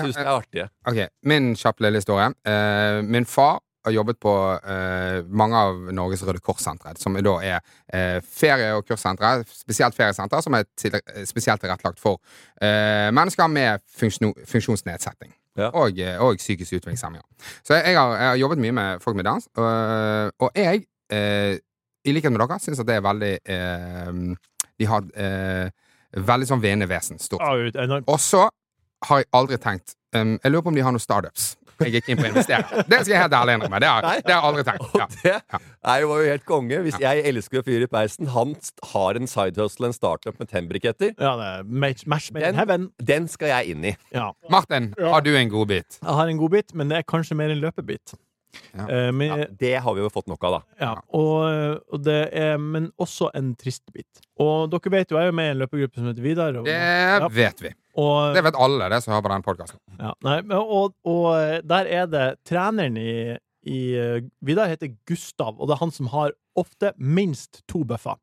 Speaker 5: Syns de er artige.
Speaker 4: Ok, Min kjapp lille historie. Eh, min far har jobbet på eh, mange av Norges Røde Kors-sentre, som da er eh, ferie- og kurssentre, spesielt feriesentre, som er til, eh, spesielt tilrettelagt for eh, mennesker med funksjon, funksjonsnedsetting.
Speaker 5: Ja.
Speaker 4: Og, eh, og psykisk utviklingshemninger. Så jeg har, jeg har jobbet mye med folk med dans, og, og jeg, eh, i likhet med dere, syns at det er veldig eh, De har eh, veldig sånn venende vesen, stort
Speaker 2: Ja, ut- enormt.
Speaker 4: og så har jeg aldri tenkt um, Jeg lurer på om de har noen startups. Jeg gikk inn på å investere. Det skal jeg helt ærlig innrømme. Det har,
Speaker 5: Nei.
Speaker 4: det har jeg aldri tenkt.
Speaker 5: Og
Speaker 4: Ja.
Speaker 5: det er jo, var jo helt konge. Hvis jeg elsker å fyre i peisen, han st- har en side hustle, en startup med tennbriketter,
Speaker 2: Ja, det er match, match made in
Speaker 5: Den-
Speaker 2: heaven.
Speaker 5: den skal jeg inn i.
Speaker 2: Ja.
Speaker 4: Martin, har du en godbit?
Speaker 2: Jeg har en godbit, men det er kanskje mer en løpebit.
Speaker 4: Ja.
Speaker 2: Eh, men,
Speaker 5: Ja, det har vi jo fått nok av, da.
Speaker 2: Ja, og, og det er, men også en trist bit. Og dere vet jo, jeg er jo med i en løpegruppe som heter Vidar. Og,
Speaker 4: Det
Speaker 2: Ja.
Speaker 4: vet vi.
Speaker 2: og,
Speaker 4: Det vet alle det som hører på den podkasten.
Speaker 2: ja, nei, men- og, og der er det treneren i, i eh, Vidar heter Gustav, og det er han som har ofte minst to bøffer.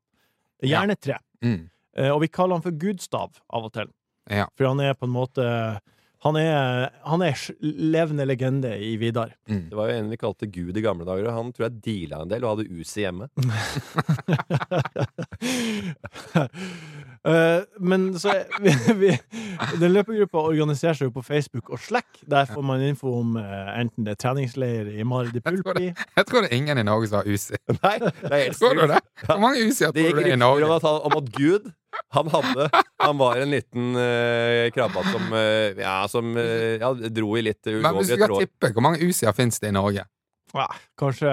Speaker 2: Gjerne tre.
Speaker 4: Mm.
Speaker 2: Eh, Og vi kaller han for Gudstav av og til.
Speaker 4: Ja.
Speaker 2: For han er på en måte Han er, han er sj- levende legende i Vidar. (laughs)
Speaker 5: Det var jo en vi kalte Gud i gamle dager, og han tror jeg deala en del og hadde Uzi hjemme. (laughs)
Speaker 2: Eh, men så vi, vi, Den løpegruppa organiserer seg jo på Facebook og Slack. Der får man info om eh, enten det er treningsleir i Mari de
Speaker 4: tror
Speaker 2: Pulpi
Speaker 4: Jeg tror det er ingen i Norge som har UC.
Speaker 5: Nei, det er helt
Speaker 4: Tror du
Speaker 5: sykt.
Speaker 4: det? Hvor mange UC-er
Speaker 5: Det
Speaker 4: tror
Speaker 5: gikk
Speaker 4: du det er
Speaker 5: rykter
Speaker 4: i
Speaker 5: om
Speaker 4: Norge?
Speaker 5: at, han- om at Gud han, hadde, han var en liten uh, krabba som, eh, ja, som eh, ja, dro i litt
Speaker 4: Men hvis
Speaker 5: ulovlige
Speaker 4: du skal
Speaker 5: tråder.
Speaker 4: tippe, hvor mange UC-er finnes det i Norge?
Speaker 2: Ah, Kanskje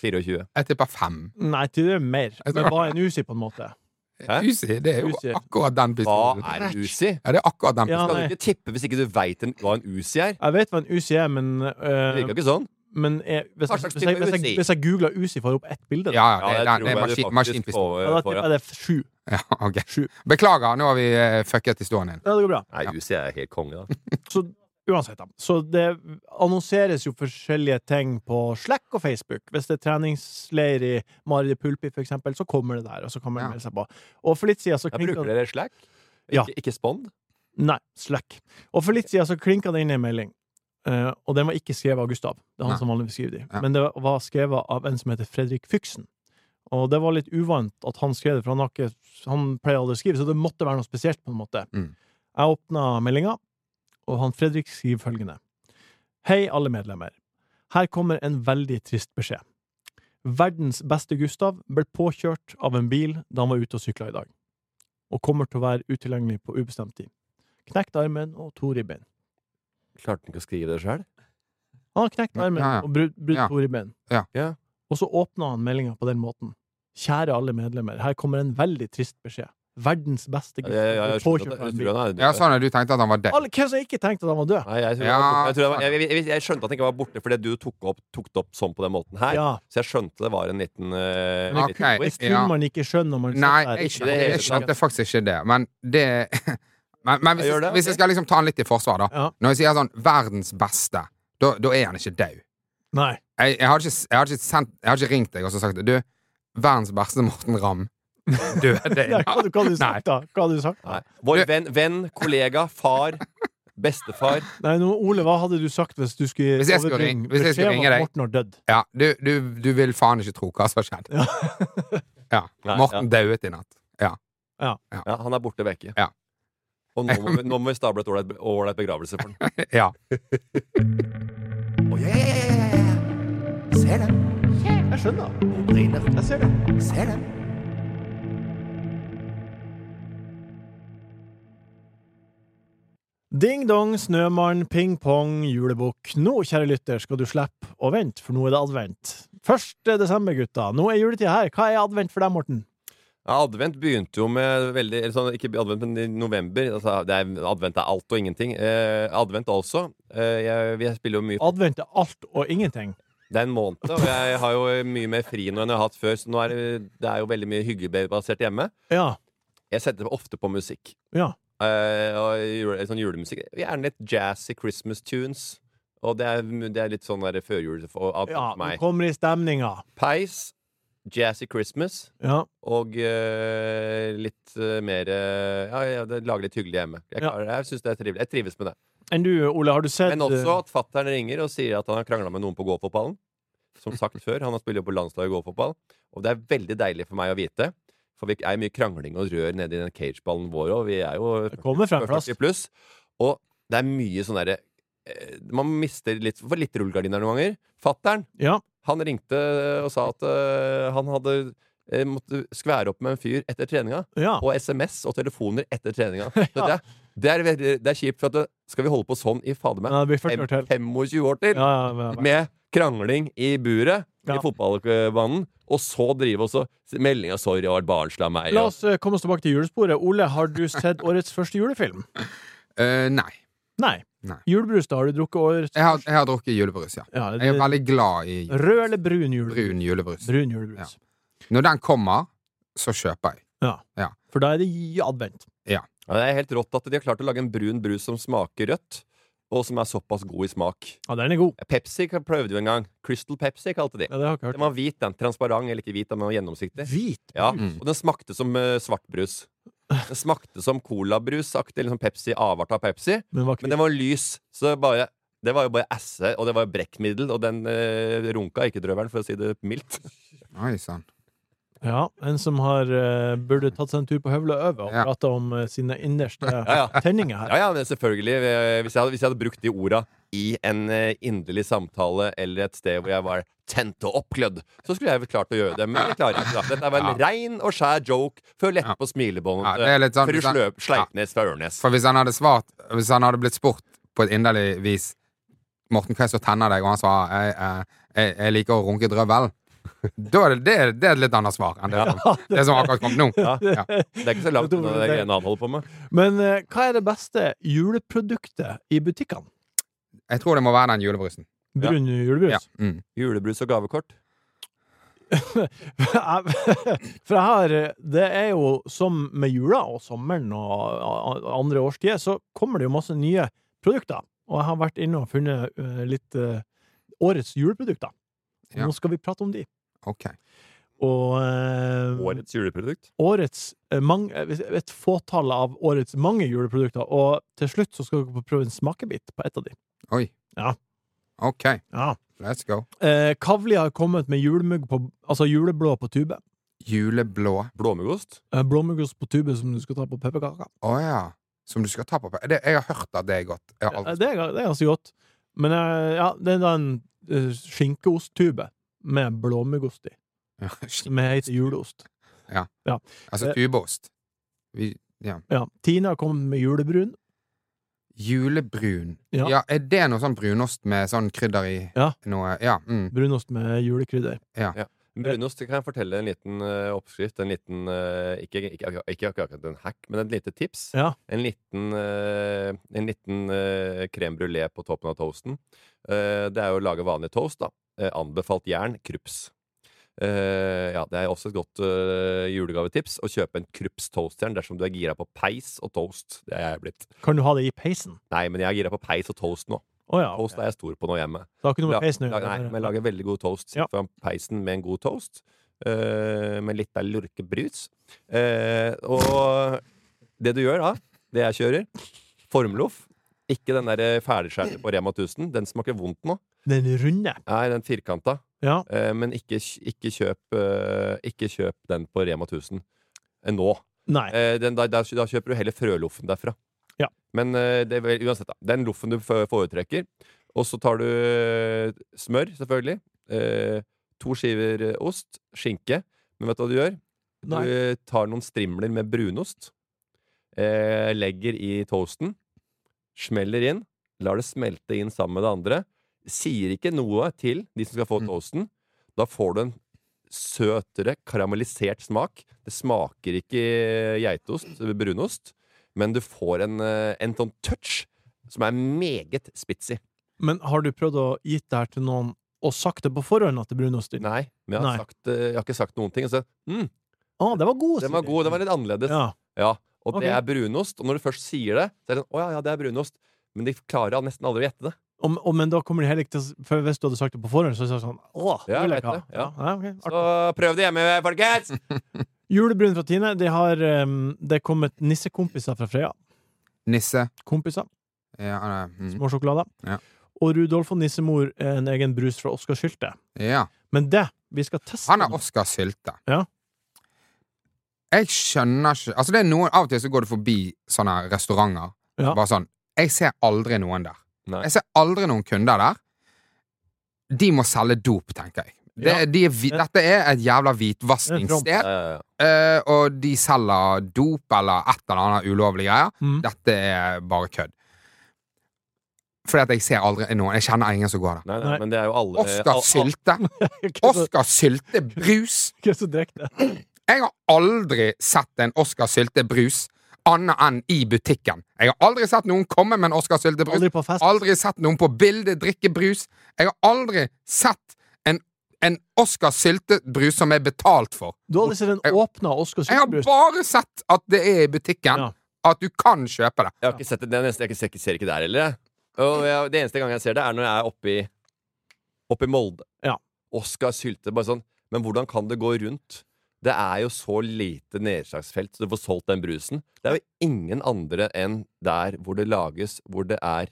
Speaker 5: 24.
Speaker 4: Jeg tipper fem.
Speaker 2: Nei, tidligere mer. Men bare en usi, på en måte.
Speaker 5: Hæ?
Speaker 4: UC, det er jo
Speaker 2: UC.
Speaker 4: akkurat den
Speaker 5: Hva
Speaker 4: pistolen.
Speaker 5: er en Uzi?
Speaker 4: Ja, det er akkurat den
Speaker 2: Ja,
Speaker 4: pistolen.
Speaker 5: Kan
Speaker 2: nei.
Speaker 5: du ikke tippe hvis ikke du veit hva en Uzi er?
Speaker 2: Jeg vet hva en usi er, men, eh,
Speaker 5: Det virker ikke sånn.
Speaker 2: men jeg, hvis,
Speaker 5: Hva
Speaker 2: jeg,
Speaker 5: slags
Speaker 2: hvis, jeg,
Speaker 5: type
Speaker 2: hvis, jeg,
Speaker 5: usi?
Speaker 2: hvis jeg googler usi, får jeg opp ett bilde. da.
Speaker 4: Ja, ja, det er, den,
Speaker 5: tror jeg du
Speaker 4: det er maskin,
Speaker 5: faktisk
Speaker 4: maskinpistol.
Speaker 5: får,
Speaker 2: Ja,
Speaker 5: eh,
Speaker 2: da
Speaker 5: får,
Speaker 2: tipper
Speaker 5: ja.
Speaker 2: jeg det er sju.
Speaker 4: (laughs) Ja, ok.
Speaker 2: Sju.
Speaker 4: Beklager, nå har vi eh, fucket historien din.
Speaker 2: Ja, det går bra.
Speaker 5: Nei, Uzi er helt konge, da.
Speaker 2: Så uansett, da. Så det annonseres jo forskjellige ting på Slack og Facebook. Hvis det er treningsleir i Mari de Pulpi, for eksempel, så kommer det der, og så kan man
Speaker 4: Ja.
Speaker 2: melde seg på. Og for litt siden så
Speaker 5: Jeg bruker
Speaker 2: klinka
Speaker 5: dere slack?
Speaker 2: Ja.
Speaker 5: Ikke, ikke spond?
Speaker 2: Nei, Slack. Og for litt siden så klinka det inn i en melding. Eh, og den var ikke skrevet av Gustav, det er han
Speaker 4: Nei.
Speaker 2: som vanligvis skriver de.
Speaker 4: Ja.
Speaker 2: Men det var skrevet av en som heter Fredrik Fyksen. Og det var litt uvant at han skrev det, for han, har ikke, han pleier aldri å skrive, så det måtte være noe spesielt, på en måte.
Speaker 4: Mm.
Speaker 2: Jeg åpna meldinga, og han Fredrik skriver følgende. Hei, alle medlemmer. Her kommer en veldig trist beskjed. Verdens beste Gustav ble påkjørt av en bil da han var ute og sykla i dag, og kommer til å være utilgjengelig på ubestemt tid. Knekt armen og to ribbein.
Speaker 5: Klarte han ikke å skrive det sjøl?
Speaker 2: Han har knekt armen
Speaker 4: Ja, ja.
Speaker 2: og brutt brutt
Speaker 4: Ja.
Speaker 2: to ribbein.
Speaker 4: Ja.
Speaker 5: Ja.
Speaker 2: Og så åpna han meldinga på den måten. Kjære alle medlemmer, her kommer en veldig trist beskjed. Verdens beste
Speaker 5: Jeg,
Speaker 2: gutt
Speaker 5: jeg, jeg,
Speaker 2: ble
Speaker 5: skjønner
Speaker 2: påkjørt
Speaker 5: at-
Speaker 2: av
Speaker 5: jeg
Speaker 2: en
Speaker 5: tror
Speaker 2: bil.
Speaker 5: han er-
Speaker 4: Ja, sånn at du tenkte at han var død.
Speaker 2: Alle, hvem som ikke tenkte at han var død?
Speaker 5: Nei, jeg, tror
Speaker 4: Ja,
Speaker 5: han var borte. jeg, tror han var- jeg, jeg, jeg skjønte at han ikke var borte fordi du tok, opp, tok det opp sånn på den måten her.
Speaker 2: Ja.
Speaker 5: Så jeg skjønte det var en liten, eh,
Speaker 2: Men
Speaker 5: en
Speaker 4: ok.
Speaker 5: liten
Speaker 2: Det
Speaker 5: twist.
Speaker 4: Ja.
Speaker 2: kunne man ikke skjønne når man satt
Speaker 4: Nei,
Speaker 2: der.
Speaker 4: jeg
Speaker 5: i det
Speaker 4: skjønte,
Speaker 5: hele
Speaker 4: jeg
Speaker 5: tatt.
Speaker 4: skjønte faktisk ikke det. Men det (laughs) Men, men hvis,
Speaker 5: Jeg gjør
Speaker 4: jeg,
Speaker 5: det,
Speaker 4: hvis
Speaker 5: ok.
Speaker 4: jeg skal liksom ta han litt i forsvar, da.
Speaker 2: Ja.
Speaker 4: Når jeg sier sånn 'verdens beste', da, da er han ikke død.
Speaker 2: Nei.
Speaker 4: Jeg, jeg, har ikke, jeg, har ikke sendt, jeg har ikke ringt deg og så sagt du, verdens beste Morten
Speaker 2: (laughs)
Speaker 4: Ramm døde i
Speaker 2: Nei, Hva,
Speaker 4: dag.
Speaker 2: hva hadde du sagt, da? Hva hadde du sagt?
Speaker 5: Nei. Vår venn, venn, kollega,
Speaker 4: (laughs)
Speaker 5: far, bestefar.
Speaker 2: Nei, nå, Ole, hva hadde du sagt hvis du skulle
Speaker 4: Hvis jeg skulle
Speaker 2: overbringe
Speaker 4: ring- hvis jeg skulle
Speaker 2: beskjed om
Speaker 4: ringe
Speaker 2: at
Speaker 4: deg?
Speaker 2: Morten har dødd?
Speaker 4: Ja, du, du, du vil faen ikke tro hva som har skjedd. (laughs) Ja.
Speaker 5: Nei,
Speaker 4: Morten døde i natt. Ja.
Speaker 5: Ja, han er borte vekke.
Speaker 4: Ja.
Speaker 5: Og nå må vi, nå må vi stable et ålreit- ålreit begravelse for den.
Speaker 4: (laughs) ja.
Speaker 3: Å, ja, ja, ja, ja, ja, ja. Ser dem.
Speaker 2: Jeg skjønner.
Speaker 3: Hun brenner.
Speaker 2: Jeg ser det.
Speaker 3: Ser dem.
Speaker 2: Ding dong, snømann, ping pong, julebukk. Nå, kjære lytter, skal du slippe å vente, for nå er det advent. 1. desember, gutta. Nå er juletida her. Hva er advent for deg, Morten?
Speaker 5: Ja, advent begynte jo med veldig eller sånn, Ikke advent, men i november. Altså, det er, advent er alt og ingenting. Eh, advent altså. Eh, jeg, jeg spiller jo mye
Speaker 2: Advent er alt og ingenting.
Speaker 5: Det er en måned, og jeg har jo mye mer fri nå enn jeg har hatt før. Så nå er det, det er jo veldig mye hyggebasert hjemme.
Speaker 2: Ja.
Speaker 5: Jeg setter ofte på musikk.
Speaker 2: Ja.
Speaker 5: Eh, og jule, sånn julemusikk. Gjerne litt jazzy Christmas tunes. Og det er, det er litt sånn der førjul for av-
Speaker 2: ja
Speaker 5: for
Speaker 2: du
Speaker 5: meg.
Speaker 2: kommer i stemninga.
Speaker 5: Peis, jazzy Christmas
Speaker 2: Ja.
Speaker 5: og eh, litt eh, mer eh, Ja, ja det- lage litt hyggelig hjemme. Jeg,
Speaker 2: Ja.
Speaker 5: klarer- jeg syns det er trivelig. Jeg trives med det.
Speaker 2: Enn du, Ole, har du sett
Speaker 5: Men også at fattern ringer og sier at han har krangla med noen på gåfotballen. Som
Speaker 2: (laughs)
Speaker 5: sagt før, han har spiller jo på landslaget i gåfotball. Og det er veldig deilig for meg å vite. For vi er mye krangling og rør nedi den cageballen vår òg. Vi er jo
Speaker 2: Det kommer eh, frem plass.
Speaker 5: 40 pluss. Og det er mye sånn derre eh, Man mister litt for litt rullegardiner noen ganger. Fattern,
Speaker 2: Ja.
Speaker 5: han ringte og sa at eh, han hadde eh, måtte skvære opp med en fyr etter treninga
Speaker 2: Ja.
Speaker 5: på SMS og telefoner
Speaker 2: (laughs)
Speaker 5: etter treninga. Så Det, er, det, er, veldig- det er kjipt, for at det, skal vi holde på sånn i fader meg
Speaker 2: ja det blir 40 år til.
Speaker 5: 25 år til?
Speaker 2: Ja, ja, ja.
Speaker 5: Med krangling i buret
Speaker 2: Ja.
Speaker 5: i fotballbanen, og så drive også meldinga 'sorry, jeg har vært barnslig av meg'.
Speaker 2: La
Speaker 5: Og,
Speaker 2: oss eh, komme oss tilbake til julesporet. Ole, har du sett årets første julefilm?
Speaker 4: Eh, nei.
Speaker 2: Nei.
Speaker 4: Nei.
Speaker 2: Julebrus, da? Har du drukket årets
Speaker 4: Jeg har, jeg har drukket julebrus, ja.
Speaker 2: ja,
Speaker 4: Jeg er veldig glad i
Speaker 2: Rød eller brun julebrus?
Speaker 4: brun julebrus.
Speaker 2: Brun julebrus.
Speaker 4: Når den kommer, så kjøper jeg.
Speaker 2: For da er det i advent.
Speaker 5: ja, det er helt rått at de har klart å lage en brun brus som smaker rødt, og som er såpass god i smak.
Speaker 2: Ja, den er god.
Speaker 5: Pepsi prøvde jo en gang. Crystal Pepsi kalte de.
Speaker 2: Ja, det har jeg ikke hørt.
Speaker 5: Den var hvit, den. Transparent, eller ikke hvit, den var gjennomsiktig.
Speaker 2: Hvit?
Speaker 5: Ja,
Speaker 4: Mm.
Speaker 5: Og den smakte som eh, svart brus. Den smakte som colabrusaktig, eller som Pepsi, avart av Pepsi.
Speaker 2: Men var ikke
Speaker 5: Men den var lys, så det bare det var jo bare esse, og det var jo brekkmiddel, og den eh, runka ikke drøveren, for å si det mildt.
Speaker 4: Oi sann.
Speaker 2: Ja, en som har eh, burde tatt seg en tur på høvla over og
Speaker 4: Ja.
Speaker 2: prate om eh, sine innerste
Speaker 5: ja.
Speaker 2: tenninger her.
Speaker 5: Ja, ja, men selvfølgelig. eh, Hvis jeg, hadde, hvis jeg hadde brukt de orda i en eh, inderlig samtale eller et sted hvor jeg var tent og oppglødd, så skulle jeg vel klart å gjøre det, men det klarer jeg ikke. da. Dette var en rein og skjær joke før lett
Speaker 4: Ja.
Speaker 5: på smilebåndet.
Speaker 4: Ja, det er litt sånn-
Speaker 5: Fru Slø- Sleipnes fra Ørnes.
Speaker 4: For hvis han hadde svart Hvis han hadde blitt spurt på et inderlig vis Morten, hva er det som tenner deg? Og han svarer jeg, jeg, jeg, jeg liker å runke drøvel. (laughs) Da er det, det, er- det er et litt annet svar enn det, som, det som akkurat kom nå.
Speaker 5: Ja.
Speaker 4: Ja.
Speaker 5: (laughs) Det er ikke så langt unna de greiene han holder på med.
Speaker 2: (laughs) Men eh, hva er det beste juleproduktet i butikkene?
Speaker 4: Jeg tror det må være den julebrusen.
Speaker 2: Brun julebrus? (laughs)
Speaker 4: Ja. Mm.
Speaker 5: Julebrus og gavekort.
Speaker 2: (laughs) For jeg har eh, Det er jo som med jula og sommeren og a- a- andre årstider, så kommer det jo masse nye produkter. Og jeg har vært inne og funnet eh, litt eh, årets juleprodukter. Og
Speaker 4: Ja.
Speaker 2: Nå skal vi prate om de.
Speaker 4: Ok.
Speaker 2: Og eh,
Speaker 5: Årets juleprodukt.
Speaker 2: årets eh, mang- eh, Et fåtall av årets mange juleprodukter. Og til slutt så skal dere få prøve en smakebit på et av de.
Speaker 4: Oi.
Speaker 2: Ja.
Speaker 4: Ok,
Speaker 2: Ja.
Speaker 4: let's go.
Speaker 2: Eh, Kavli har kommet med julemugg på Altså juleblå på tube.
Speaker 4: Juleblå.
Speaker 5: Blåmuggost.
Speaker 2: Eh, Blåmuggost på tube som du skal ta på pepperkaker.
Speaker 4: Å ja. Som du skal ta på pe- det, Jeg har hørt at det er godt. Jeg har
Speaker 2: Ja,
Speaker 4: aldri
Speaker 2: Eh, Det er, det er ganske godt. Men eh, ja, det er da en eh, skinkeosttube med blåmuggost i,
Speaker 4: smakt
Speaker 2: som heter juleost.
Speaker 4: (laughs) Altså tubeost. Vi, ja.
Speaker 2: Ja, Tina har kommet med julebrun.
Speaker 4: Julebrun.
Speaker 2: Ja.
Speaker 4: Ja. er det noe sånn brunost med sånn krydder i?
Speaker 2: Ja.
Speaker 4: Noe, ja, mm.
Speaker 2: Brunost med julekrydder.
Speaker 5: Brunost kan jeg fortelle en liten eh, oppskrift. En liten, eh, ikke, ikke, ikke, ikke akkurat en hack, men et lite tips.
Speaker 2: Ja.
Speaker 5: En liten, eh, en liten eh, crème brulé på toppen av toasten. Eh, det er jo å lage vanlig toast, da. Eh, anbefalt jern, krups. Eh, ja, det er også et godt eh, julegavetips å kjøpe en krups-toastjern dersom du er gira på peis og toast. Det er jeg blitt.
Speaker 2: Kan du ha det i peisen?
Speaker 5: Nei, men jeg er gira på peis og toast nå.
Speaker 2: Å ja. ok.
Speaker 5: Toast er jeg stor på nå hjemme.
Speaker 2: Det har ikke noe
Speaker 5: La-
Speaker 2: med peis nå å
Speaker 5: la- Nei, men jeg
Speaker 2: gjøre.
Speaker 5: lager veldig god toast. Sitter
Speaker 2: Ja.
Speaker 5: foran peisen med en god toast. eh, med litt av lurkebrus. Eh, og det du gjør da, det jeg kjører Formloff. Ikke den der ferdigskjærte på Rema 1000. Den smaker vondt nå.
Speaker 2: Den runde.
Speaker 5: Nei, den firkanta.
Speaker 2: Ja.
Speaker 5: Eh, men ikke, ikke, kjøp, eh, ikke kjøp den på Rema 1000 eh, nå.
Speaker 2: Nei.
Speaker 5: Eh, den, da, da, da kjøper du heller frøloffen derfra.
Speaker 2: Ja.
Speaker 5: Men eh, det er vel, uansett, da. Den loffen du fø- foretrekker. Og så tar du eh, smør, selvfølgelig. Eh, to skiver eh, ost. Skinke. Men vet du hva du gjør? Du
Speaker 2: Nei.
Speaker 5: eh, tar noen strimler med brunost. Eh, legger i toasten. Smeller inn. Lar det smelte inn sammen med det andre. Sier ikke noe til de som skal få
Speaker 4: Mm.
Speaker 5: toasten. Da får du en søtere, karamellisert smak. Det smaker ikke geitost, brunost, men du får en, eh, en sånn touch som er meget spitsy.
Speaker 2: Men har du prøvd å gitt det her til noen og sagt det på forhånd at det er brunost i?
Speaker 5: Nei, men jeg har,
Speaker 2: Nei.
Speaker 5: Sagt, eh, jeg har ikke sagt noen ting. og Så, mm,
Speaker 2: Å, den var god!
Speaker 5: den var
Speaker 2: Siri.
Speaker 5: god, den var litt annerledes. Ja.
Speaker 2: Ja.
Speaker 5: og
Speaker 2: Ok.
Speaker 5: det er brunost. Og når du først sier det, så er det sånn Å ja, ja, det er brunost. Men de klarer nesten aldri å gjette det.
Speaker 2: Og, og, men da kommer de heller ikke til å s- For hvis du hadde sagt det på forhånd, så hadde de sagt sånn Å, det
Speaker 5: Ja,
Speaker 2: vil jeg
Speaker 5: jeg
Speaker 2: ikke ha.
Speaker 5: vet det, ja.
Speaker 2: Ja, ok, artig.
Speaker 5: Så prøv det hjemme, folkens!
Speaker 2: Julebrun fra Tine. Det har em, det er kommet nissekompiser fra Freia.
Speaker 4: Nisse.
Speaker 2: Kompiser.
Speaker 4: Ja, nei, mm.
Speaker 2: Små sjokolader.
Speaker 4: Ja.
Speaker 2: Og Rudolf og nissemor er en egen brus fra Oskar Sylte.
Speaker 4: ja.
Speaker 2: Men det vi skal teste
Speaker 4: Han er Oskar Sylte.
Speaker 2: Ja.
Speaker 4: Jeg skjønner ikke Altså det er noen Av og til så går du forbi sånne restauranter.
Speaker 2: Ja.
Speaker 4: Bare sånn Jeg ser aldri noen der.
Speaker 5: Nei.
Speaker 4: Jeg ser aldri noen kunder der. De må selge dop, tenker jeg. Det,
Speaker 2: Ja.
Speaker 4: de er, hvi-
Speaker 2: Ja.
Speaker 4: Dette er et
Speaker 5: Ja,
Speaker 4: jævla hvitvaskingssted,
Speaker 5: ja, ja.
Speaker 4: eh, og de selger dop eller et eller annet ulovlig greier.
Speaker 2: Mm. (laughs)
Speaker 4: Dette er bare kødd. Fordi at jeg ser aldri noen. Jeg kjenner ingen som går der.
Speaker 5: Nei, nei,
Speaker 2: Nei.
Speaker 5: men det er jo alle
Speaker 4: Oskar
Speaker 5: Eh, al- al- (laughs)
Speaker 4: Sylte.
Speaker 2: Hva er det-
Speaker 4: Oskar Sylte brus.
Speaker 2: hva er det som drikker det?
Speaker 4: Jeg har aldri sett en Oscar Sylte brus annet enn i butikken. Jeg har aldri sett noen komme med en Oscar Sylte brus.
Speaker 2: Aldri på fest.
Speaker 4: Aldri sett noen på bildet drikke brus. Jeg har aldri sett en, en Oscar Sylte brus som er betalt for.
Speaker 2: Du har aldri sett en
Speaker 4: Jeg-
Speaker 2: åpna Oskar
Speaker 4: Jeg har
Speaker 2: Sylte-brus?
Speaker 4: bare sett at det er i butikken.
Speaker 2: Ja.
Speaker 4: At du kan kjøpe det.
Speaker 5: Jeg har ikke sett det, det er nesten, jeg ser ikke- ser ikke det her heller. jeg. Og jeg, det eneste gang jeg ser det, er når jeg er oppe i, oppe i Molde.
Speaker 2: Ja.
Speaker 5: Oskar Sylte. Bare sånn Men hvordan kan det gå rundt? Det er jo så lite nedslagsfelt, så du får solgt den brusen. Det er jo ingen andre enn der hvor det lages, hvor det er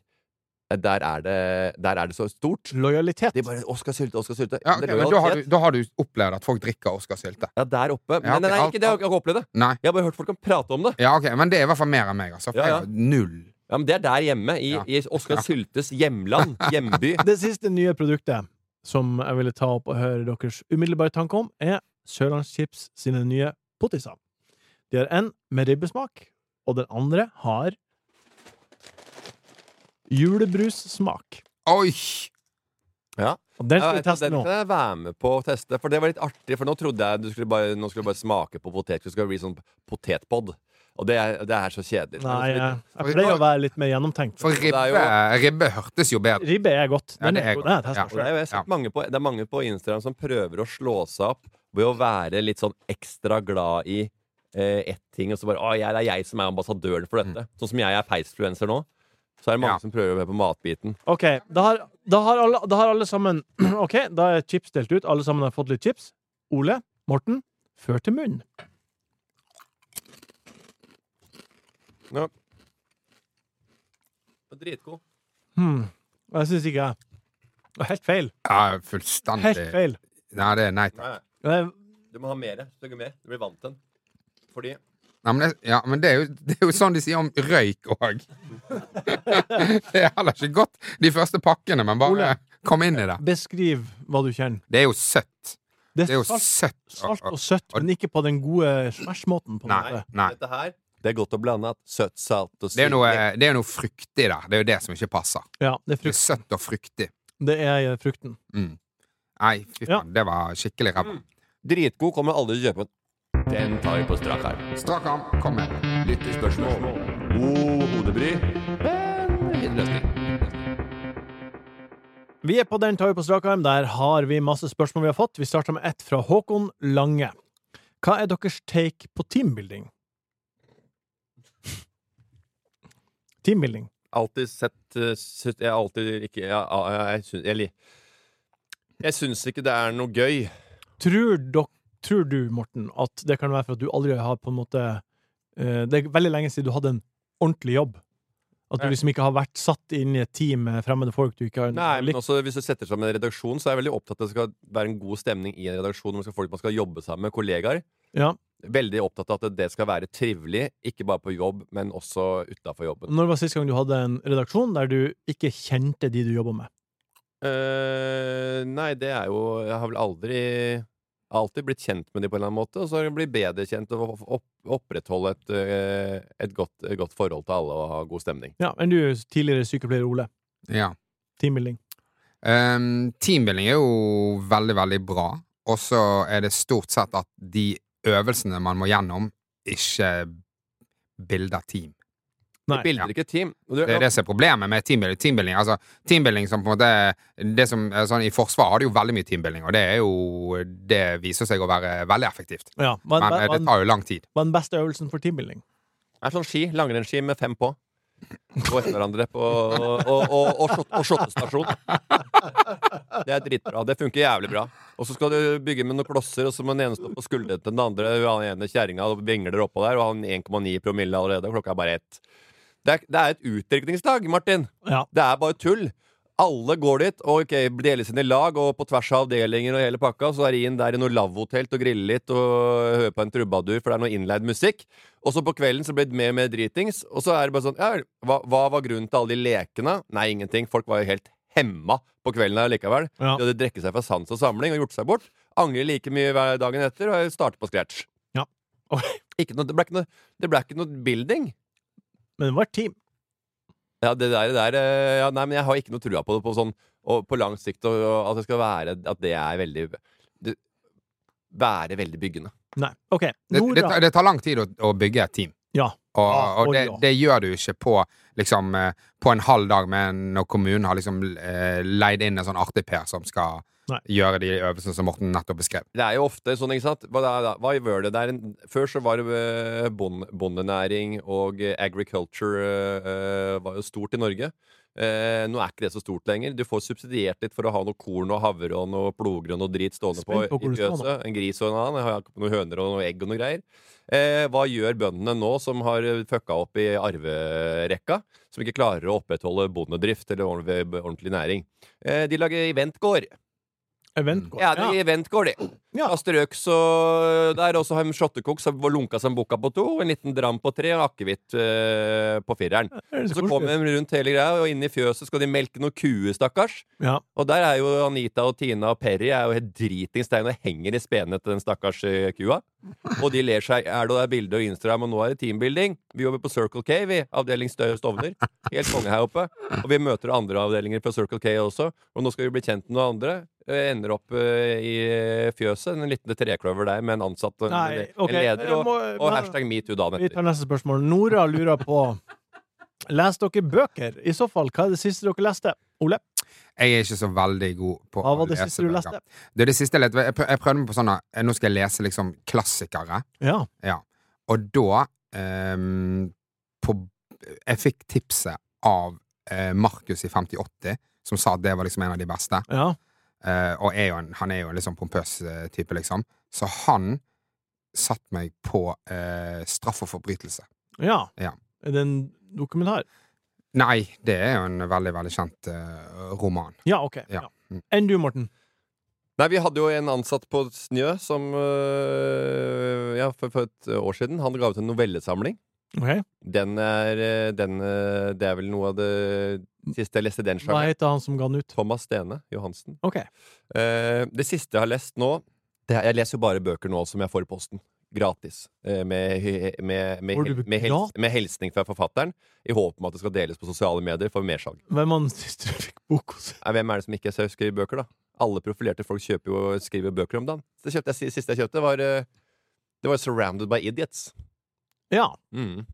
Speaker 5: Der er det, der er det så stort.
Speaker 2: Lojalitet.
Speaker 5: De bare 'Oskar Sylte, Oskar Sylte'.
Speaker 4: Ja,
Speaker 5: Det
Speaker 4: ok,
Speaker 5: er
Speaker 4: men da har,
Speaker 5: lojalitet.
Speaker 4: du, da har du opplevd at folk drikker Oscar Sylte.
Speaker 5: ja, der oppe. Men
Speaker 4: Ja, ok,
Speaker 5: nei, nei,
Speaker 4: alt-
Speaker 5: ikke det. Jeg har ikke opplevd det.
Speaker 4: Nei.
Speaker 5: Jeg har bare hørt folk kan prate om det.
Speaker 4: Ja, ok, Men det er i hvert fall mer enn meg, altså. For
Speaker 5: Ja, ja.
Speaker 4: jeg har null.
Speaker 5: Ja, men Det er der hjemme. I,
Speaker 4: Ja.
Speaker 5: i Oskar Syltes
Speaker 4: (laughs)
Speaker 5: hjemland. Hjemby.
Speaker 2: Det siste nye produktet som jeg ville ta opp og høre deres umiddelbare tanke om, er Sørlandschips sine nye pottiser. De har en med ribbesmak, og den andre har julebrussmak.
Speaker 4: Oi!
Speaker 5: Ja
Speaker 2: Og den skal
Speaker 5: Ja,
Speaker 2: vi teste
Speaker 5: den
Speaker 2: nå.
Speaker 5: kan jeg være med på å teste, for det var litt artig. For nå trodde jeg du skulle bare, nå skulle du bare smake på potet. Du skulle bli sånn potetpod. Og det er, det er så kjedelig.
Speaker 2: Nei,
Speaker 5: Det er
Speaker 2: jeg,
Speaker 5: så-
Speaker 2: jeg pleier å være litt mer gjennomtenkt.
Speaker 4: For
Speaker 5: det er jo-
Speaker 4: ribbe, ribbe hørtes jo bedre
Speaker 2: Ribbe er godt.
Speaker 4: Ja,
Speaker 2: Den
Speaker 4: det er
Speaker 2: er god.
Speaker 4: godt.
Speaker 2: Den har jeg testet
Speaker 4: Ja.
Speaker 5: og det,
Speaker 2: selv.
Speaker 5: er jo, jeg har sett mange på, det er mange på Instagram som prøver å slå seg opp ved å være litt sånn ekstra glad i eh, ett ting, og så bare Å, jeg, det er jeg som er ambassadøren for dette. Sånn som jeg er peisfluencer nå. Så er det mange
Speaker 4: Mm. Ja.
Speaker 5: som prøver å være på matbiten.
Speaker 2: Ok, da har, da, har alle, da har alle sammen (clears throat) Ok, da er chips delt ut. Alle sammen har fått litt chips. Ole, Morten, før til munnen.
Speaker 5: Ja. Dritgod.
Speaker 2: Hmm. Jeg syns ikke jeg. Det var Helt feil.
Speaker 4: Ja,
Speaker 2: Helt
Speaker 4: fullstendig.
Speaker 2: feil.
Speaker 4: Nei, det er nei takk.
Speaker 5: Nei,
Speaker 2: Det er-
Speaker 5: du må ha mer. Stygge mer. Du blir vant til den. Fordi
Speaker 4: Nei, men det, ja, men det er, jo, det er jo sånn de sier om røyk òg.
Speaker 2: (laughs)
Speaker 4: det er heller ikke godt, de første pakkene, men bare
Speaker 2: Ole.
Speaker 4: kom inn i det.
Speaker 2: Beskriv hva du kjenner.
Speaker 4: Det er jo søtt.
Speaker 2: Det
Speaker 4: Det
Speaker 2: er
Speaker 4: er jo
Speaker 2: salt,
Speaker 4: søtt.
Speaker 2: salt og søtt, men ikke på den gode smashmåten. på en
Speaker 4: Nei,
Speaker 2: måte.
Speaker 4: nei.
Speaker 5: Dette her Det er godt å blande at søtt, salt og
Speaker 4: Det er jo noe,
Speaker 5: syrlig.
Speaker 4: det er noe fruktig der. Det er jo det som ikke passer.
Speaker 2: Ja, det er
Speaker 4: Det er
Speaker 2: frukt.
Speaker 4: søtt og fruktig.
Speaker 2: Det er eh, frukten.
Speaker 4: Mm. Nei, fy
Speaker 2: Ja.
Speaker 4: faen, det var skikkelig ræva.
Speaker 5: Dritgod kommer aldri til å kjøpe den. Den tar vi på strak arm.
Speaker 2: Mm.
Speaker 4: Strak arm, kom med.
Speaker 5: Lyttespørsmål. God hodebry. Men fin løsning.
Speaker 2: Vi er på Den tar vi på strak arm. Der har vi masse spørsmål vi har fått. Vi starter med ett fra Håkon Lange. Hva er deres take på teambuilding? Teambuilding.
Speaker 5: alltid sett eh, syns- Jeg har alltid ikke Jeg, ah, jeg, jeg, syns- jeg, li- jeg syns ikke det er noe gøy.
Speaker 2: Tror, dok, tror du, Morten, at det kan være for at du aldri har på en måte eh, Det er veldig lenge siden du hadde en ordentlig jobb. At du
Speaker 5: Ja.
Speaker 2: liksom ikke har vært satt inn i et team med fremmede folk du ikke har
Speaker 5: Nei, men altså
Speaker 2: likt.
Speaker 5: også Hvis du setter sammen en redaksjon, så er jeg veldig opptatt av at det skal være en god stemning i en redaksjon. Man skal, folk man skal jobbe sammen med kollegaer.
Speaker 2: Ja.
Speaker 5: Veldig opptatt av at det skal være trivelig, ikke bare på jobb, men også utafor jobben.
Speaker 2: Når var sist gang du hadde en redaksjon der du ikke kjente de du jobba med?
Speaker 5: Eh, nei, det er jo Jeg har vel aldri jeg har alltid blitt kjent med dem på en eller annen måte, og så bli bedre kjent og opp, opprettholde et, eh, et godt, et godt forhold til alle og ha god stemning.
Speaker 2: Ja, Enn du tidligere sykepleier Ole.
Speaker 4: Ja.
Speaker 2: Teambuilding.
Speaker 4: Um, teambuilding er jo veldig, veldig bra. Og så er det stort sett at de øvelsene man må gjennom, ikke bilder team.
Speaker 2: Nei.
Speaker 5: Bilder
Speaker 4: Ja.
Speaker 5: ikke et team. Og
Speaker 4: Det er det som er problemet med teambuilding. teambuilding altså, teambuilding som på en måte det som, er sånn, I Forsvaret har de jo veldig mye teambuilding, og det, er jo, det viser seg å være veldig effektivt.
Speaker 2: Ja, hva
Speaker 4: Men eh,
Speaker 2: er
Speaker 4: det
Speaker 2: den- hva
Speaker 4: tar jo lang tid.
Speaker 2: er den beste øvelsen for teambuilding?
Speaker 5: Det er sånn ski, langrennsski med fem på. Gå etter hverandre på Og, og, og, og, shot- og shottestasjon. Det er dritbra. Det funker jævlig bra. Og så skal du bygge med noen klosser, og så må den ene stå på skuldrene til den andre. Hun ene kjerringa og vingler oppå der, og han 1,9 promille allerede, og klokka er bare ett. Det er, det er et utdrikningsdag, Martin.
Speaker 2: Ja.
Speaker 5: Det er bare tull. Alle går dit og ok, deles inn i lag, og på tvers av avdelinger og hele pakka. Så er det inn der i noe lavvotelt og grille litt og høre på en trubadur, for det er noe innleid musikk. Og så på kvelden så blir det mer og mer dritings. Og så er det bare sånn ja, vel, hva, hva var grunnen til alle de lekene? Nei, ingenting. Folk var jo helt hemma på kvelden allikevel.
Speaker 2: Ja.
Speaker 5: De hadde drukket seg fra sans og samling og gjort seg bort. Angrer like mye hver dagen etter og starter på scratch. (laughs)
Speaker 2: Ja. Oi.
Speaker 5: Ikke noe, det ble ikke noe, det ble ikke noe building.
Speaker 2: Men det var et team.
Speaker 5: Ja, det der, det der eh, ja, Nei, men jeg har ikke noe trua på det på, sånn, og på lang sikt. Og, og at det skal være At det er veldig det, Være veldig byggende.
Speaker 2: Nei. OK.
Speaker 4: Det, det,
Speaker 2: Nora.
Speaker 4: tar- det tar lang tid å, å bygge et team.
Speaker 2: Ja.
Speaker 4: Og,
Speaker 2: Ja,
Speaker 4: og
Speaker 2: oi,
Speaker 4: det,
Speaker 2: ja.
Speaker 4: det gjør du ikke på, liksom, eh, på en halv dag med når kommunen har liksom, eh, leid inn en sånn artig-per som skal
Speaker 2: Nei.
Speaker 4: gjøre de øvelsene som Morten nettopp beskrev.
Speaker 5: Det er jo ofte sånn, ikke sant? Hva, er det- hva gjør det der? Før så var det eh, bond, bondenæring og eh, agriculture eh, eh, var jo stort i Norge. Eh, nå er ikke det så stort lenger. Du får subsidiert litt for å ha noe korn og havre og noe ploger og noe drit stående på,
Speaker 2: Spent på hvor
Speaker 5: i
Speaker 2: det står nå.
Speaker 5: fjøset. En gris og en annen. Jeg har noen høner og noen egg og noe greier. Eh, hva gjør bøndene nå som har fucka opp i arverekka? Som ikke klarer å opprettholde bondedrift eller ordentlig, ordentlig næring. Eh, de lager eventgård.
Speaker 2: Event går.
Speaker 5: Ja, det er
Speaker 2: Ja.
Speaker 5: eventgård, det.
Speaker 2: Ja.
Speaker 5: Ja. Strøk så der, og så har de shottekok som var lunka som boka på to, en liten dram på tre og akevitt eh, på fireren.
Speaker 2: Det er
Speaker 5: Så
Speaker 2: koselig.
Speaker 5: kommer de rundt hele greia, og inne i fjøset skal de melke noen kuer, stakkars.
Speaker 2: Ja.
Speaker 5: Og der er jo Anita og Tina og Perry er jo helt dritings der og henger i spenene til den stakkars eh, kua. Og de ler seg Er det der bilde og Instagram, og nå er det teambuilding. Vi jobber på Circle K, vi. Avdeling Stø Stovner. Helt konge her oppe. Og vi møter andre avdelinger fra Circle K også. Og nå skal vi bli kjent med noen andre. Eh, Ender opp eh, i fjøset, en liten trekløver der med en ansatt og en,
Speaker 2: Nei, ok.
Speaker 5: en leder.
Speaker 2: Jeg
Speaker 5: Og,
Speaker 2: må-
Speaker 5: og hashtag metoo dagen
Speaker 2: Vi
Speaker 5: etter.
Speaker 2: tar neste spørsmål. Nora lurer på Leser dere bøker? I så fall, hva er det siste dere leste? Ole?
Speaker 4: Jeg er ikke så veldig god på
Speaker 2: Hva
Speaker 4: å
Speaker 2: var det
Speaker 4: lese
Speaker 2: siste du
Speaker 4: bøker.
Speaker 2: leste?
Speaker 4: Det, er det siste jeg leste. Jeg prø- jeg prøvde meg på sånn eh, Nå skal jeg lese liksom klassikere.
Speaker 2: Ja.
Speaker 4: Ja. Og da ehm, på, eh, Jeg fikk tipset av eh, Markus i 5080, som sa at det var liksom en av de beste.
Speaker 2: ja.
Speaker 4: Eh, og er jo en, han er jo en litt sånn pompøs eh, type, liksom. Så han satt meg på eh, straff og forbrytelse.
Speaker 2: Ja.
Speaker 4: Ja.
Speaker 2: Er det en dokumentar?
Speaker 4: Nei, det er jo en veldig, veldig kjent eh, roman.
Speaker 2: Ja, OK.
Speaker 4: Ja.
Speaker 2: Ja. Enn du, Morten?
Speaker 5: Nei, vi hadde jo en ansatt på Snø som øh, Ja, for, for et år siden. Han ga ut en novellesamling.
Speaker 2: Ok.
Speaker 5: Den er, øh, den, øh, det er vel noe av det siste jeg leste i den
Speaker 2: Hva
Speaker 5: sjangeren.
Speaker 2: heter han som ga den ut?
Speaker 5: Thomas Stene Johansen.
Speaker 2: OK.
Speaker 5: Eh, det siste jeg har lest nå det, er- Jeg leser jo bare bøker nå som jeg får i posten. Gratis. Eh, med, hy- med, med,
Speaker 2: Får du
Speaker 5: hel,
Speaker 2: det
Speaker 5: med, hels,
Speaker 2: gratis?
Speaker 5: med hilsning fra forfatteren. I håp om at det skal deles på sosiale medier for mersalg.
Speaker 2: Hvem var den siste du fikk bok hos?
Speaker 5: Nei, Hvem er det som ikke skriver bøker, da? Alle profilerte folk kjøper jo og skriver bøker om dagen. Det kjøpte jeg, siste jeg kjøpte, var eh, Det var 'Surrounded by Idiots'.
Speaker 2: Ja.
Speaker 5: Mm.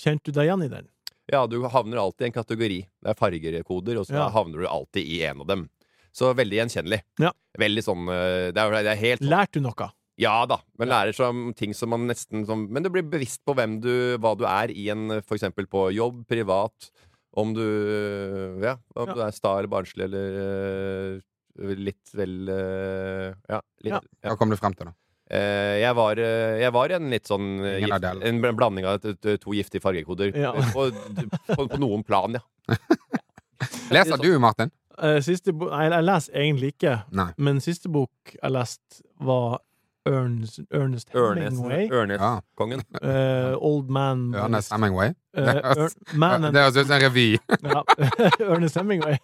Speaker 2: Kjente du deg igjen i den?
Speaker 5: Ja, du havner alltid i en kategori. Det er fargekoder, og så
Speaker 2: Ja.
Speaker 5: havner du alltid i en av dem. Så veldig gjenkjennelig.
Speaker 2: Ja.
Speaker 5: Veldig sånn eh, Det er, det er helt sånn
Speaker 2: Lærte du noe?
Speaker 5: Ja da. Man lærer som ting som man nesten som, Men du blir bevisst på hvem du, hva du er i en eh, For eksempel på jobb, privat Om du, ja, om
Speaker 2: Ja.
Speaker 5: du er sta eller barnslig eller eh, litt vel eh, Ja. Litt,
Speaker 2: Ja.
Speaker 5: ja.
Speaker 4: Hva kom du frem til, da?
Speaker 5: Eh, jeg, var, eh, jeg var en litt sånn eh,
Speaker 4: Ingen
Speaker 5: gift,
Speaker 4: Adele.
Speaker 5: En bl- blanding av et- et- to giftige fargekoder.
Speaker 2: Ja.
Speaker 5: På, på, på noen plan, ja.
Speaker 4: Leser du, Martin?
Speaker 2: Eh, Siste bok Nei, jeg leser egentlig ikke.
Speaker 4: Nei.
Speaker 2: Men siste bok jeg leste, var Ernest, Ernest
Speaker 5: Ørnesen-
Speaker 2: Hemingway.
Speaker 4: Ja.
Speaker 5: Ørneskongen.
Speaker 2: eh, Old Man Boys.
Speaker 4: Ernest Hemingway?
Speaker 2: Eh, Ørn- Man and
Speaker 4: (laughs) Det høres ut som en revy.
Speaker 2: ja. (laughs) Ernest Hemingway.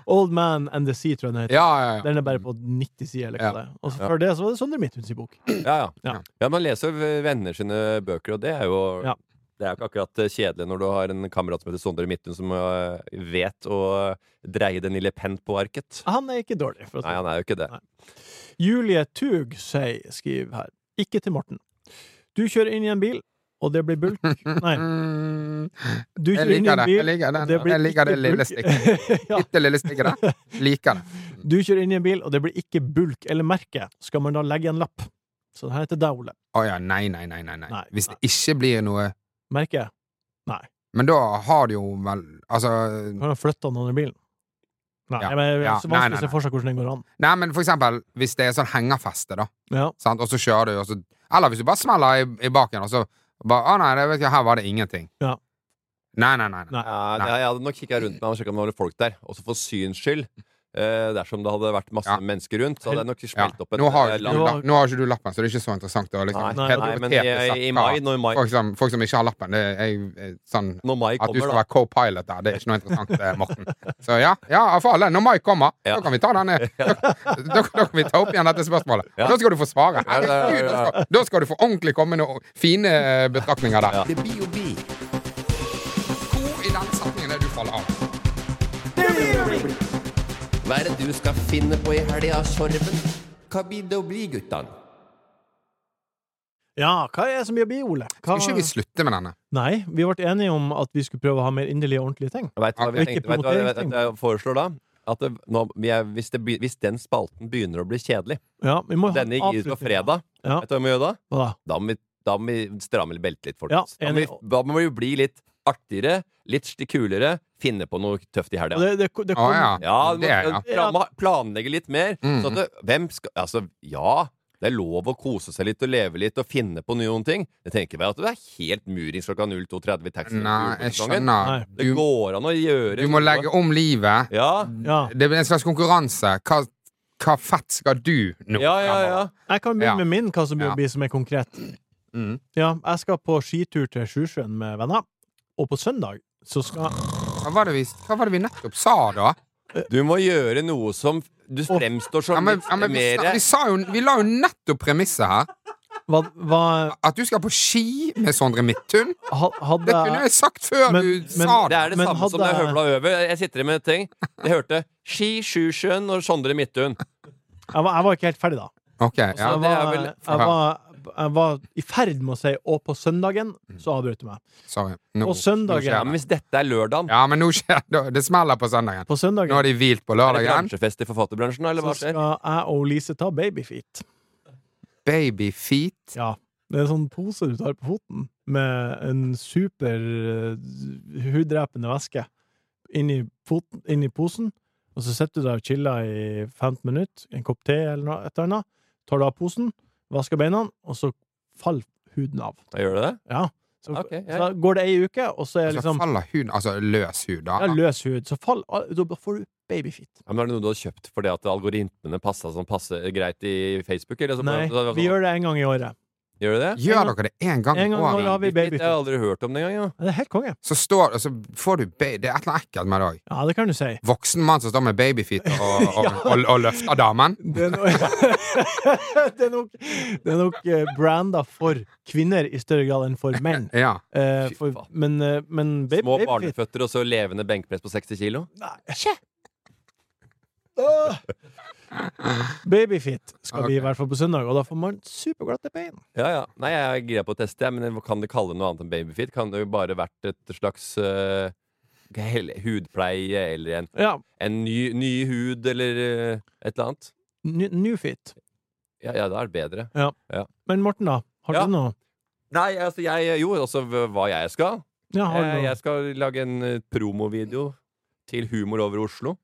Speaker 2: (laughs) Old Man and the Sea, tror jeg den heter.
Speaker 4: Ja, ja, ja.
Speaker 2: Den er bare på 90 sider. eller hva
Speaker 4: Ja.
Speaker 2: det er. Og så
Speaker 5: Ja.
Speaker 2: før det så var det Sondre Midthuns bok.
Speaker 5: Ja, ja.
Speaker 2: Ja.
Speaker 5: ja. Man leser jo venner sine bøker, og det er jo
Speaker 2: Ja.
Speaker 5: Det er jo ikke akkurat eh, kjedelig når du har en kamerat som heter Sondre Midthun, som eh, vet å dreie den lille penn på arket.
Speaker 2: Han er ikke dårlig. for å si
Speaker 5: Nei, han er jo ikke det.
Speaker 2: Nei. Julie Tug sier, skriver her, ikke til Morten. Du kjører inn i en bil, og det blir
Speaker 4: (laughs)
Speaker 2: bulk Nei,
Speaker 4: Mm,
Speaker 2: du
Speaker 4: jeg
Speaker 2: kjører inn i
Speaker 4: liker
Speaker 2: en bil,
Speaker 4: det. Jeg
Speaker 2: og
Speaker 4: liker den.
Speaker 2: det blir
Speaker 4: Jeg liker
Speaker 2: ikke
Speaker 4: det lille stikket.
Speaker 2: bulk. (laughs) ja.
Speaker 4: Bitte lille stikket der. Liker det.
Speaker 2: Du kjører inn i en bil, og det blir ikke bulk eller merke. Skal man da legge en lapp? Så det her er til deg, Ole.
Speaker 4: Å ja, nei, nei, nei, nei, nei.
Speaker 2: Nei,
Speaker 4: Hvis
Speaker 2: nei.
Speaker 4: det ikke blir noe
Speaker 2: Merke?
Speaker 4: Men da har du jo vel Altså
Speaker 2: Har han flytta noen i bilen? Nei,
Speaker 4: Ja,
Speaker 2: men det
Speaker 4: ja,
Speaker 2: er så
Speaker 4: nei, nei,
Speaker 2: vanskelig å se
Speaker 4: nei.
Speaker 2: for seg hvordan det går an.
Speaker 4: Nei, men for eksempel hvis det er sånn hengerfeste, da,
Speaker 2: Ja.
Speaker 4: sant? og så kjører du, og så Eller hvis du bare smeller i, i baken, og så bare Å nei, det vet jeg, her var det ingenting.
Speaker 2: Ja.
Speaker 4: Nei, nei, nei. nei.
Speaker 2: Nei.
Speaker 5: Ja, det- jeg hadde nok kikka rundt meg og sjekka om det var folk der. Også for syns skyld. Eh, dersom det hadde vært masse
Speaker 4: Ja.
Speaker 5: mennesker rundt, så hadde jeg nok
Speaker 4: Ja.
Speaker 5: smelt opp et
Speaker 4: Nå, har
Speaker 5: eh,
Speaker 4: ikke
Speaker 5: land.
Speaker 4: du,
Speaker 2: Jo.
Speaker 4: lapp- nå har ikke du lappen, så det er ikke så interessant. å
Speaker 5: Nei,
Speaker 4: liksom,
Speaker 5: nei, nei, men
Speaker 4: helt
Speaker 5: i,
Speaker 4: hypotetisk
Speaker 5: i
Speaker 4: sett, hva-
Speaker 5: mai, når mai,
Speaker 4: folk, som, folk som ikke har lappen, det er, er sånn
Speaker 5: når mai
Speaker 4: At du
Speaker 5: kommer,
Speaker 4: skal
Speaker 5: da
Speaker 4: være co-pilot der, det er ikke noe interessant, eh, Morten. Så ja, ja, for alle. Når mai kommer,
Speaker 5: (laughs) Ja.
Speaker 4: da kan vi ta denne da, da, da kan vi ta opp igjen dette spørsmålet.
Speaker 5: Ja.
Speaker 4: Da skal du få svare.
Speaker 5: Ja, ja, ja,
Speaker 4: Herregud, da
Speaker 5: ja.
Speaker 4: skal, da skal du få ordentlig komme noen fine eh, betraktninger der.
Speaker 5: Ja.
Speaker 3: Det blir jo bi.
Speaker 4: Hvor i den setningen er du faller av?
Speaker 5: Hva er det du skal finne på i helga, Sorven? Hva blir det å bli, guttan?
Speaker 2: ja, hva er det som blir å bli, Ole? Hva...
Speaker 4: Skal ikke vi slutte med denne?
Speaker 2: Nei, vi ble enige om at vi skulle prøve å ha mer inderlige og ordentlige ting.
Speaker 5: Vet du hva, vi
Speaker 2: Ja,
Speaker 5: tenkte,
Speaker 2: ikke
Speaker 5: vet du hva, jeg,
Speaker 2: promoteringsting.
Speaker 5: vet- jeg foreslår da? At det, nå, vi er, hvis, det, be- hvis den spalten begynner å bli kjedelig
Speaker 2: Ja, vi må ha
Speaker 5: Denne gir ut på
Speaker 2: avslutning.
Speaker 5: fredag.
Speaker 2: Ja.
Speaker 5: Vet du hva vi må gjøre da?
Speaker 2: Hva da?
Speaker 5: Da må vi, da må vi stramme beltet litt,
Speaker 2: Ja,
Speaker 5: folkens. da, må vi,
Speaker 2: enig.
Speaker 5: da må vi bli litt artigere, litt kulere, finne på noe tøft i helga.
Speaker 2: Og Det, det, det
Speaker 4: Å
Speaker 2: kom,
Speaker 4: ja.
Speaker 5: (laughs) Ja, du må
Speaker 4: Det, er- ja.
Speaker 5: plan- må planlegge litt mer.
Speaker 4: Mm.
Speaker 5: Sånn at det- hvem skal Altså, ja. Det er lov å kose seg litt og leve litt og finne på noen ting. Jeg tenker vel at det er helt murings klokka 02.30 i taxien.
Speaker 4: Nei, jeg skjønner.
Speaker 2: Nei.
Speaker 5: Det
Speaker 4: Du,
Speaker 5: går an å gjøre
Speaker 4: du må legge om livet.
Speaker 5: Ja.
Speaker 2: ja.
Speaker 4: Det blir en slags konkurranse. Hva, hva fett skal du nå?
Speaker 5: Ja, ja, ja.
Speaker 2: Jeg kan begynne
Speaker 4: Ja.
Speaker 2: med min, hva som blir
Speaker 4: Ja.
Speaker 2: å bli som er konkret.
Speaker 4: Mm.
Speaker 2: Ja, jeg skal på skitur til Sjusjøen med venner, og på søndag så skal
Speaker 4: Hva, var det vi, hva var det vi nettopp sa, da?
Speaker 5: Du må gjøre noe som Du fremstår
Speaker 4: Ja,
Speaker 5: som
Speaker 4: men,
Speaker 5: litt
Speaker 4: ja, men vi, sna- vi,
Speaker 5: mer
Speaker 4: sa jo, vi la jo nettopp premisset her.
Speaker 2: Hva, hva
Speaker 4: At du skal på ski med Sondre Midthun.
Speaker 2: ha- hadde
Speaker 4: Det kunne jeg sagt før
Speaker 2: Men-
Speaker 4: du
Speaker 2: men-
Speaker 4: sa
Speaker 5: Det
Speaker 4: det.
Speaker 5: er det
Speaker 2: Men
Speaker 5: samme som
Speaker 2: hadde
Speaker 5: det
Speaker 2: jeg-
Speaker 5: høvla over. Jeg sitter med en ting. Jeg hørte Ski Sjusjøen og Sondre Midthun.
Speaker 2: jeg var, jeg var ikke helt ferdig da.
Speaker 4: Ok, ja.
Speaker 2: Jeg
Speaker 5: Altså, det er
Speaker 2: var,
Speaker 5: vel-
Speaker 2: jeg var, jeg var i ferd med å si 'og på søndagen', så avbrøt du meg.
Speaker 4: Sorry. Nå,
Speaker 2: Og søndagen-
Speaker 4: nå
Speaker 5: Ja,
Speaker 4: skjer
Speaker 5: men
Speaker 4: det.
Speaker 5: hvis dette er lørdagen
Speaker 4: Ja, men nå skjer det. Det smeller på søndagen.
Speaker 2: På søndagen
Speaker 4: Nå har de hvilt på
Speaker 5: Er det
Speaker 4: lørdagen.
Speaker 5: bransjefest i forfatterbransjen, eller hva
Speaker 2: så
Speaker 5: skjer?
Speaker 2: skal jeg og Lise ta babyfeet.
Speaker 4: Babyfeet.
Speaker 2: Ja. Det er en sånn pose du tar på foten, med en super eh, huddrepende væske inni, foten, inni posen. Og så sitter du der og chiller i 15 minutter, en kopp te eller noe et eller annet. Tar du av posen, vasker beina, og så faller huden av.
Speaker 5: Ja, Gjør det det?
Speaker 2: Ja. Så,
Speaker 5: Ok, ja.
Speaker 2: så går det ei uke, og så er
Speaker 4: Og så
Speaker 2: liksom
Speaker 4: faller huden Altså løs hud,
Speaker 2: ja,
Speaker 4: da.
Speaker 2: løs hud. Så fall, da får du babyfeet.
Speaker 5: Ja, men Er det noe du har kjøpt fordi at algoritmene passa som passer greit i Facebook? Eller? Så-
Speaker 2: Nei,
Speaker 5: så- så-
Speaker 2: vi gjør det en gang i året.
Speaker 5: Gjør du det?
Speaker 4: Gjør dere det én gang i
Speaker 2: En gang i året
Speaker 4: året,
Speaker 2: har vi
Speaker 5: Jeg har
Speaker 2: babyfeet.
Speaker 5: aldri hørt om det engang. Ja.
Speaker 2: Det er helt konge.
Speaker 4: så står det, så får du ba Det er et eller annet ekkelt med det òg.
Speaker 2: Ja, det kan du si.
Speaker 4: Voksen mann som står med babyfeet og,
Speaker 2: (laughs)
Speaker 4: og, og, og løfter damen.
Speaker 2: Det er, no det er nok, (laughs) det er nok eh, branda for kvinner i større grad enn for
Speaker 5: (laughs)
Speaker 2: menn.
Speaker 4: Ja.
Speaker 2: Eh,
Speaker 5: Fy
Speaker 2: for,
Speaker 5: faen.
Speaker 2: men eh, men baby,
Speaker 5: Små
Speaker 2: babyfeet-
Speaker 5: barneføtter og så levende benkpress på 60 kilo?
Speaker 2: Nei, Ikke. Åh. Babyfeet skal vi i
Speaker 4: Ok.
Speaker 2: hvert fall på søndag, og da får man superglatte bein.
Speaker 5: Ja, ja. Nei, jeg er gira på å teste, jeg, men jeg kan det kalle det noe annet enn babyfeet? Kan det jo bare vært et slags eh, hel- hudpleie eller en,
Speaker 2: Ja,
Speaker 5: en ny, ny hud eller eh, et eller annet?
Speaker 2: new new feet.
Speaker 5: Ja, ja, da er det bedre.
Speaker 2: Men Morten, da? Har
Speaker 5: Ja.
Speaker 2: du noe?
Speaker 5: Nei, altså jeg Jo, altså hva jeg skal.
Speaker 2: Ja, har du
Speaker 5: Eh,
Speaker 2: noe?
Speaker 5: Jeg skal lage en eh, promovideo til Humor over Oslo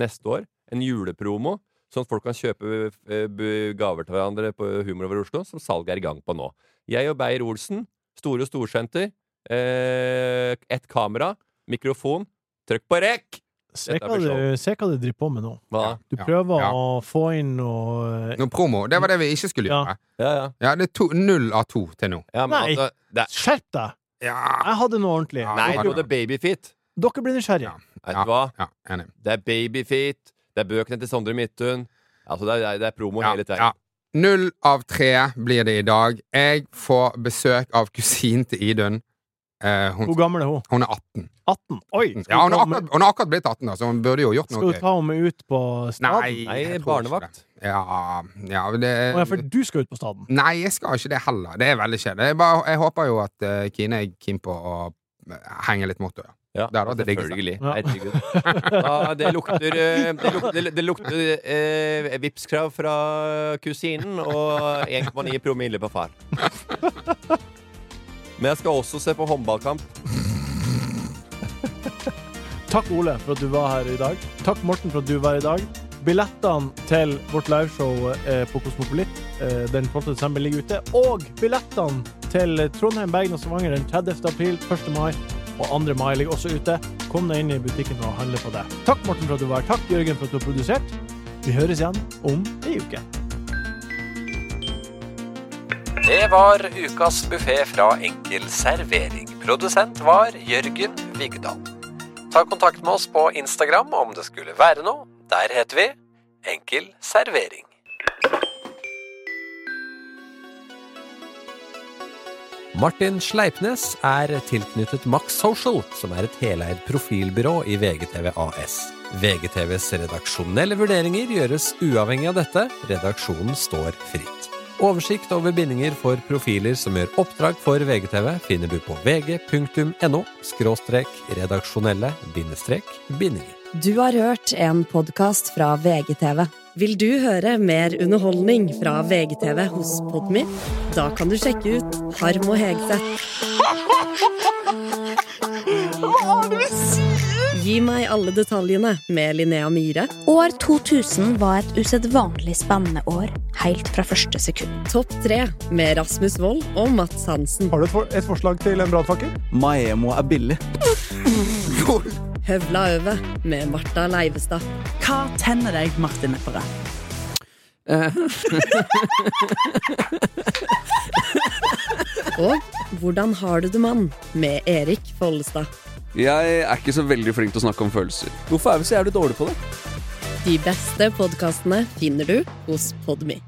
Speaker 5: neste år. En julepromo sånn at folk kan kjøpe eh, bu- gaver til hverandre på Humor over Oslo, som salget er i gang på nå. Jeg og Beyer Olsen, Store Storsenter, eh, ett kamera, mikrofon, trykk på rekk!
Speaker 2: se,
Speaker 5: Dette
Speaker 2: hva
Speaker 5: blir
Speaker 2: du, se hva du driver på med nå.
Speaker 5: Hva?
Speaker 2: Du
Speaker 4: Ja.
Speaker 2: prøver
Speaker 4: Ja.
Speaker 2: å få inn noe eh,
Speaker 4: Noe promo. Det var det vi ikke skulle
Speaker 2: Ja.
Speaker 4: gjøre.
Speaker 5: Ja, ja.
Speaker 4: Ja, det er to, null av to til nå.
Speaker 5: ja men
Speaker 2: Nei.
Speaker 5: altså, det er,
Speaker 2: Skjerp deg!
Speaker 4: Ja,
Speaker 2: Jeg hadde noe ordentlig.
Speaker 4: Ja,
Speaker 5: nei,
Speaker 4: det var
Speaker 5: du hadde babyfit.
Speaker 2: Dere blir nysgjerrige.
Speaker 4: Ja.
Speaker 5: Vet du hva?
Speaker 4: ja enig.
Speaker 5: Det er babyfit, det er bøkene til Sondre Midthun. Altså, det er, det er promo
Speaker 4: Ja,
Speaker 5: hele tiden.
Speaker 4: ja. Null av tre blir det i dag. Jeg får besøk av kusinen til Idun. Eh, hun,
Speaker 2: Hvor gammel er hun?
Speaker 4: hun er 18.
Speaker 2: 18? Oi!
Speaker 4: Ja, hun,
Speaker 2: du
Speaker 4: er
Speaker 2: ta med-
Speaker 4: akkurat, hun er akkurat blitt 18, da, så hun burde jo gjort
Speaker 2: skal
Speaker 4: noe
Speaker 2: du
Speaker 4: gøy.
Speaker 2: ta henne med ut på staden?
Speaker 4: Nei,
Speaker 5: Nei,
Speaker 4: jeg tror ikke
Speaker 5: barnevakt.
Speaker 4: det. Ja, ja det,
Speaker 2: Å ja, for du skal ut på staden.
Speaker 4: Nei, jeg skal ikke det heller. Det er veldig kjedelig. Jeg, bare, jeg håper jo at eh, Kine er keen på å eh, henge litt mot henne.
Speaker 5: Ja,
Speaker 4: Det hadde vært det diggeste.
Speaker 5: selvfølgelig.
Speaker 2: Ja.
Speaker 5: Herregud. Da, det lukter, eh, det lukter, det lukter eh, Vipps-krav fra kusinen og 1,9 promille på far. Men jeg skal også se på håndballkamp.
Speaker 2: Takk, Ole, for at du var her i dag. Takk, Morten, for at du var her i dag. Billettene til vårt liveshow eh, på Kosmopolit eh, den 12. desember ligger ute. Og billettene til Trondheim, Bergen og Stavanger den 30. april, 1. mai og 2. mai ligger også ute. Kom deg inn i butikken og handle på det. Takk, Morten, for at du var her. Takk, Jørgen, for at du har produsert. Vi høres igjen om ei uke.
Speaker 8: Det var ukas buffé fra Enkel servering. Produsent var Jørgen Vigdal. Ta kontakt med oss på Instagram om det skulle være noe. Der heter vi Enkel servering. Martin Sleipnes er tilknyttet Max Social, som er et heleid profilbyrå i VGTV AS. VGTVs redaksjonelle vurderinger gjøres uavhengig av dette. Redaksjonen står fritt. Oversikt over bindinger for profiler som gjør oppdrag for VGTV, finner du på vg.no – redaksjonelle – bindinger.
Speaker 9: Du har hørt en podkast fra VGTV. Vil du høre mer underholdning fra VGTV hos Podmy? Da kan du sjekke ut Harm og Hegseth. Gi meg alle detaljene med Linnea Myhre.
Speaker 10: År 2000 var et usedvanlig spennende år, helt fra første sekund.
Speaker 9: Topp tre med Rasmus Wold og Mats Hansen.
Speaker 2: Har du et, forslag til en brannfakkel?
Speaker 3: Maemo er billig.
Speaker 9: Høvla over med Marta Leivestad.
Speaker 7: Hva tenner deg, Martin Lepperød?
Speaker 9: Og Hvordan har du det, mann? med Erik Follestad.
Speaker 3: Jeg er ikke så veldig flink til å snakke om følelser. Hvorfor er vi så jævlig dårlige på det?
Speaker 9: De beste podkastene finner du hos Podmy.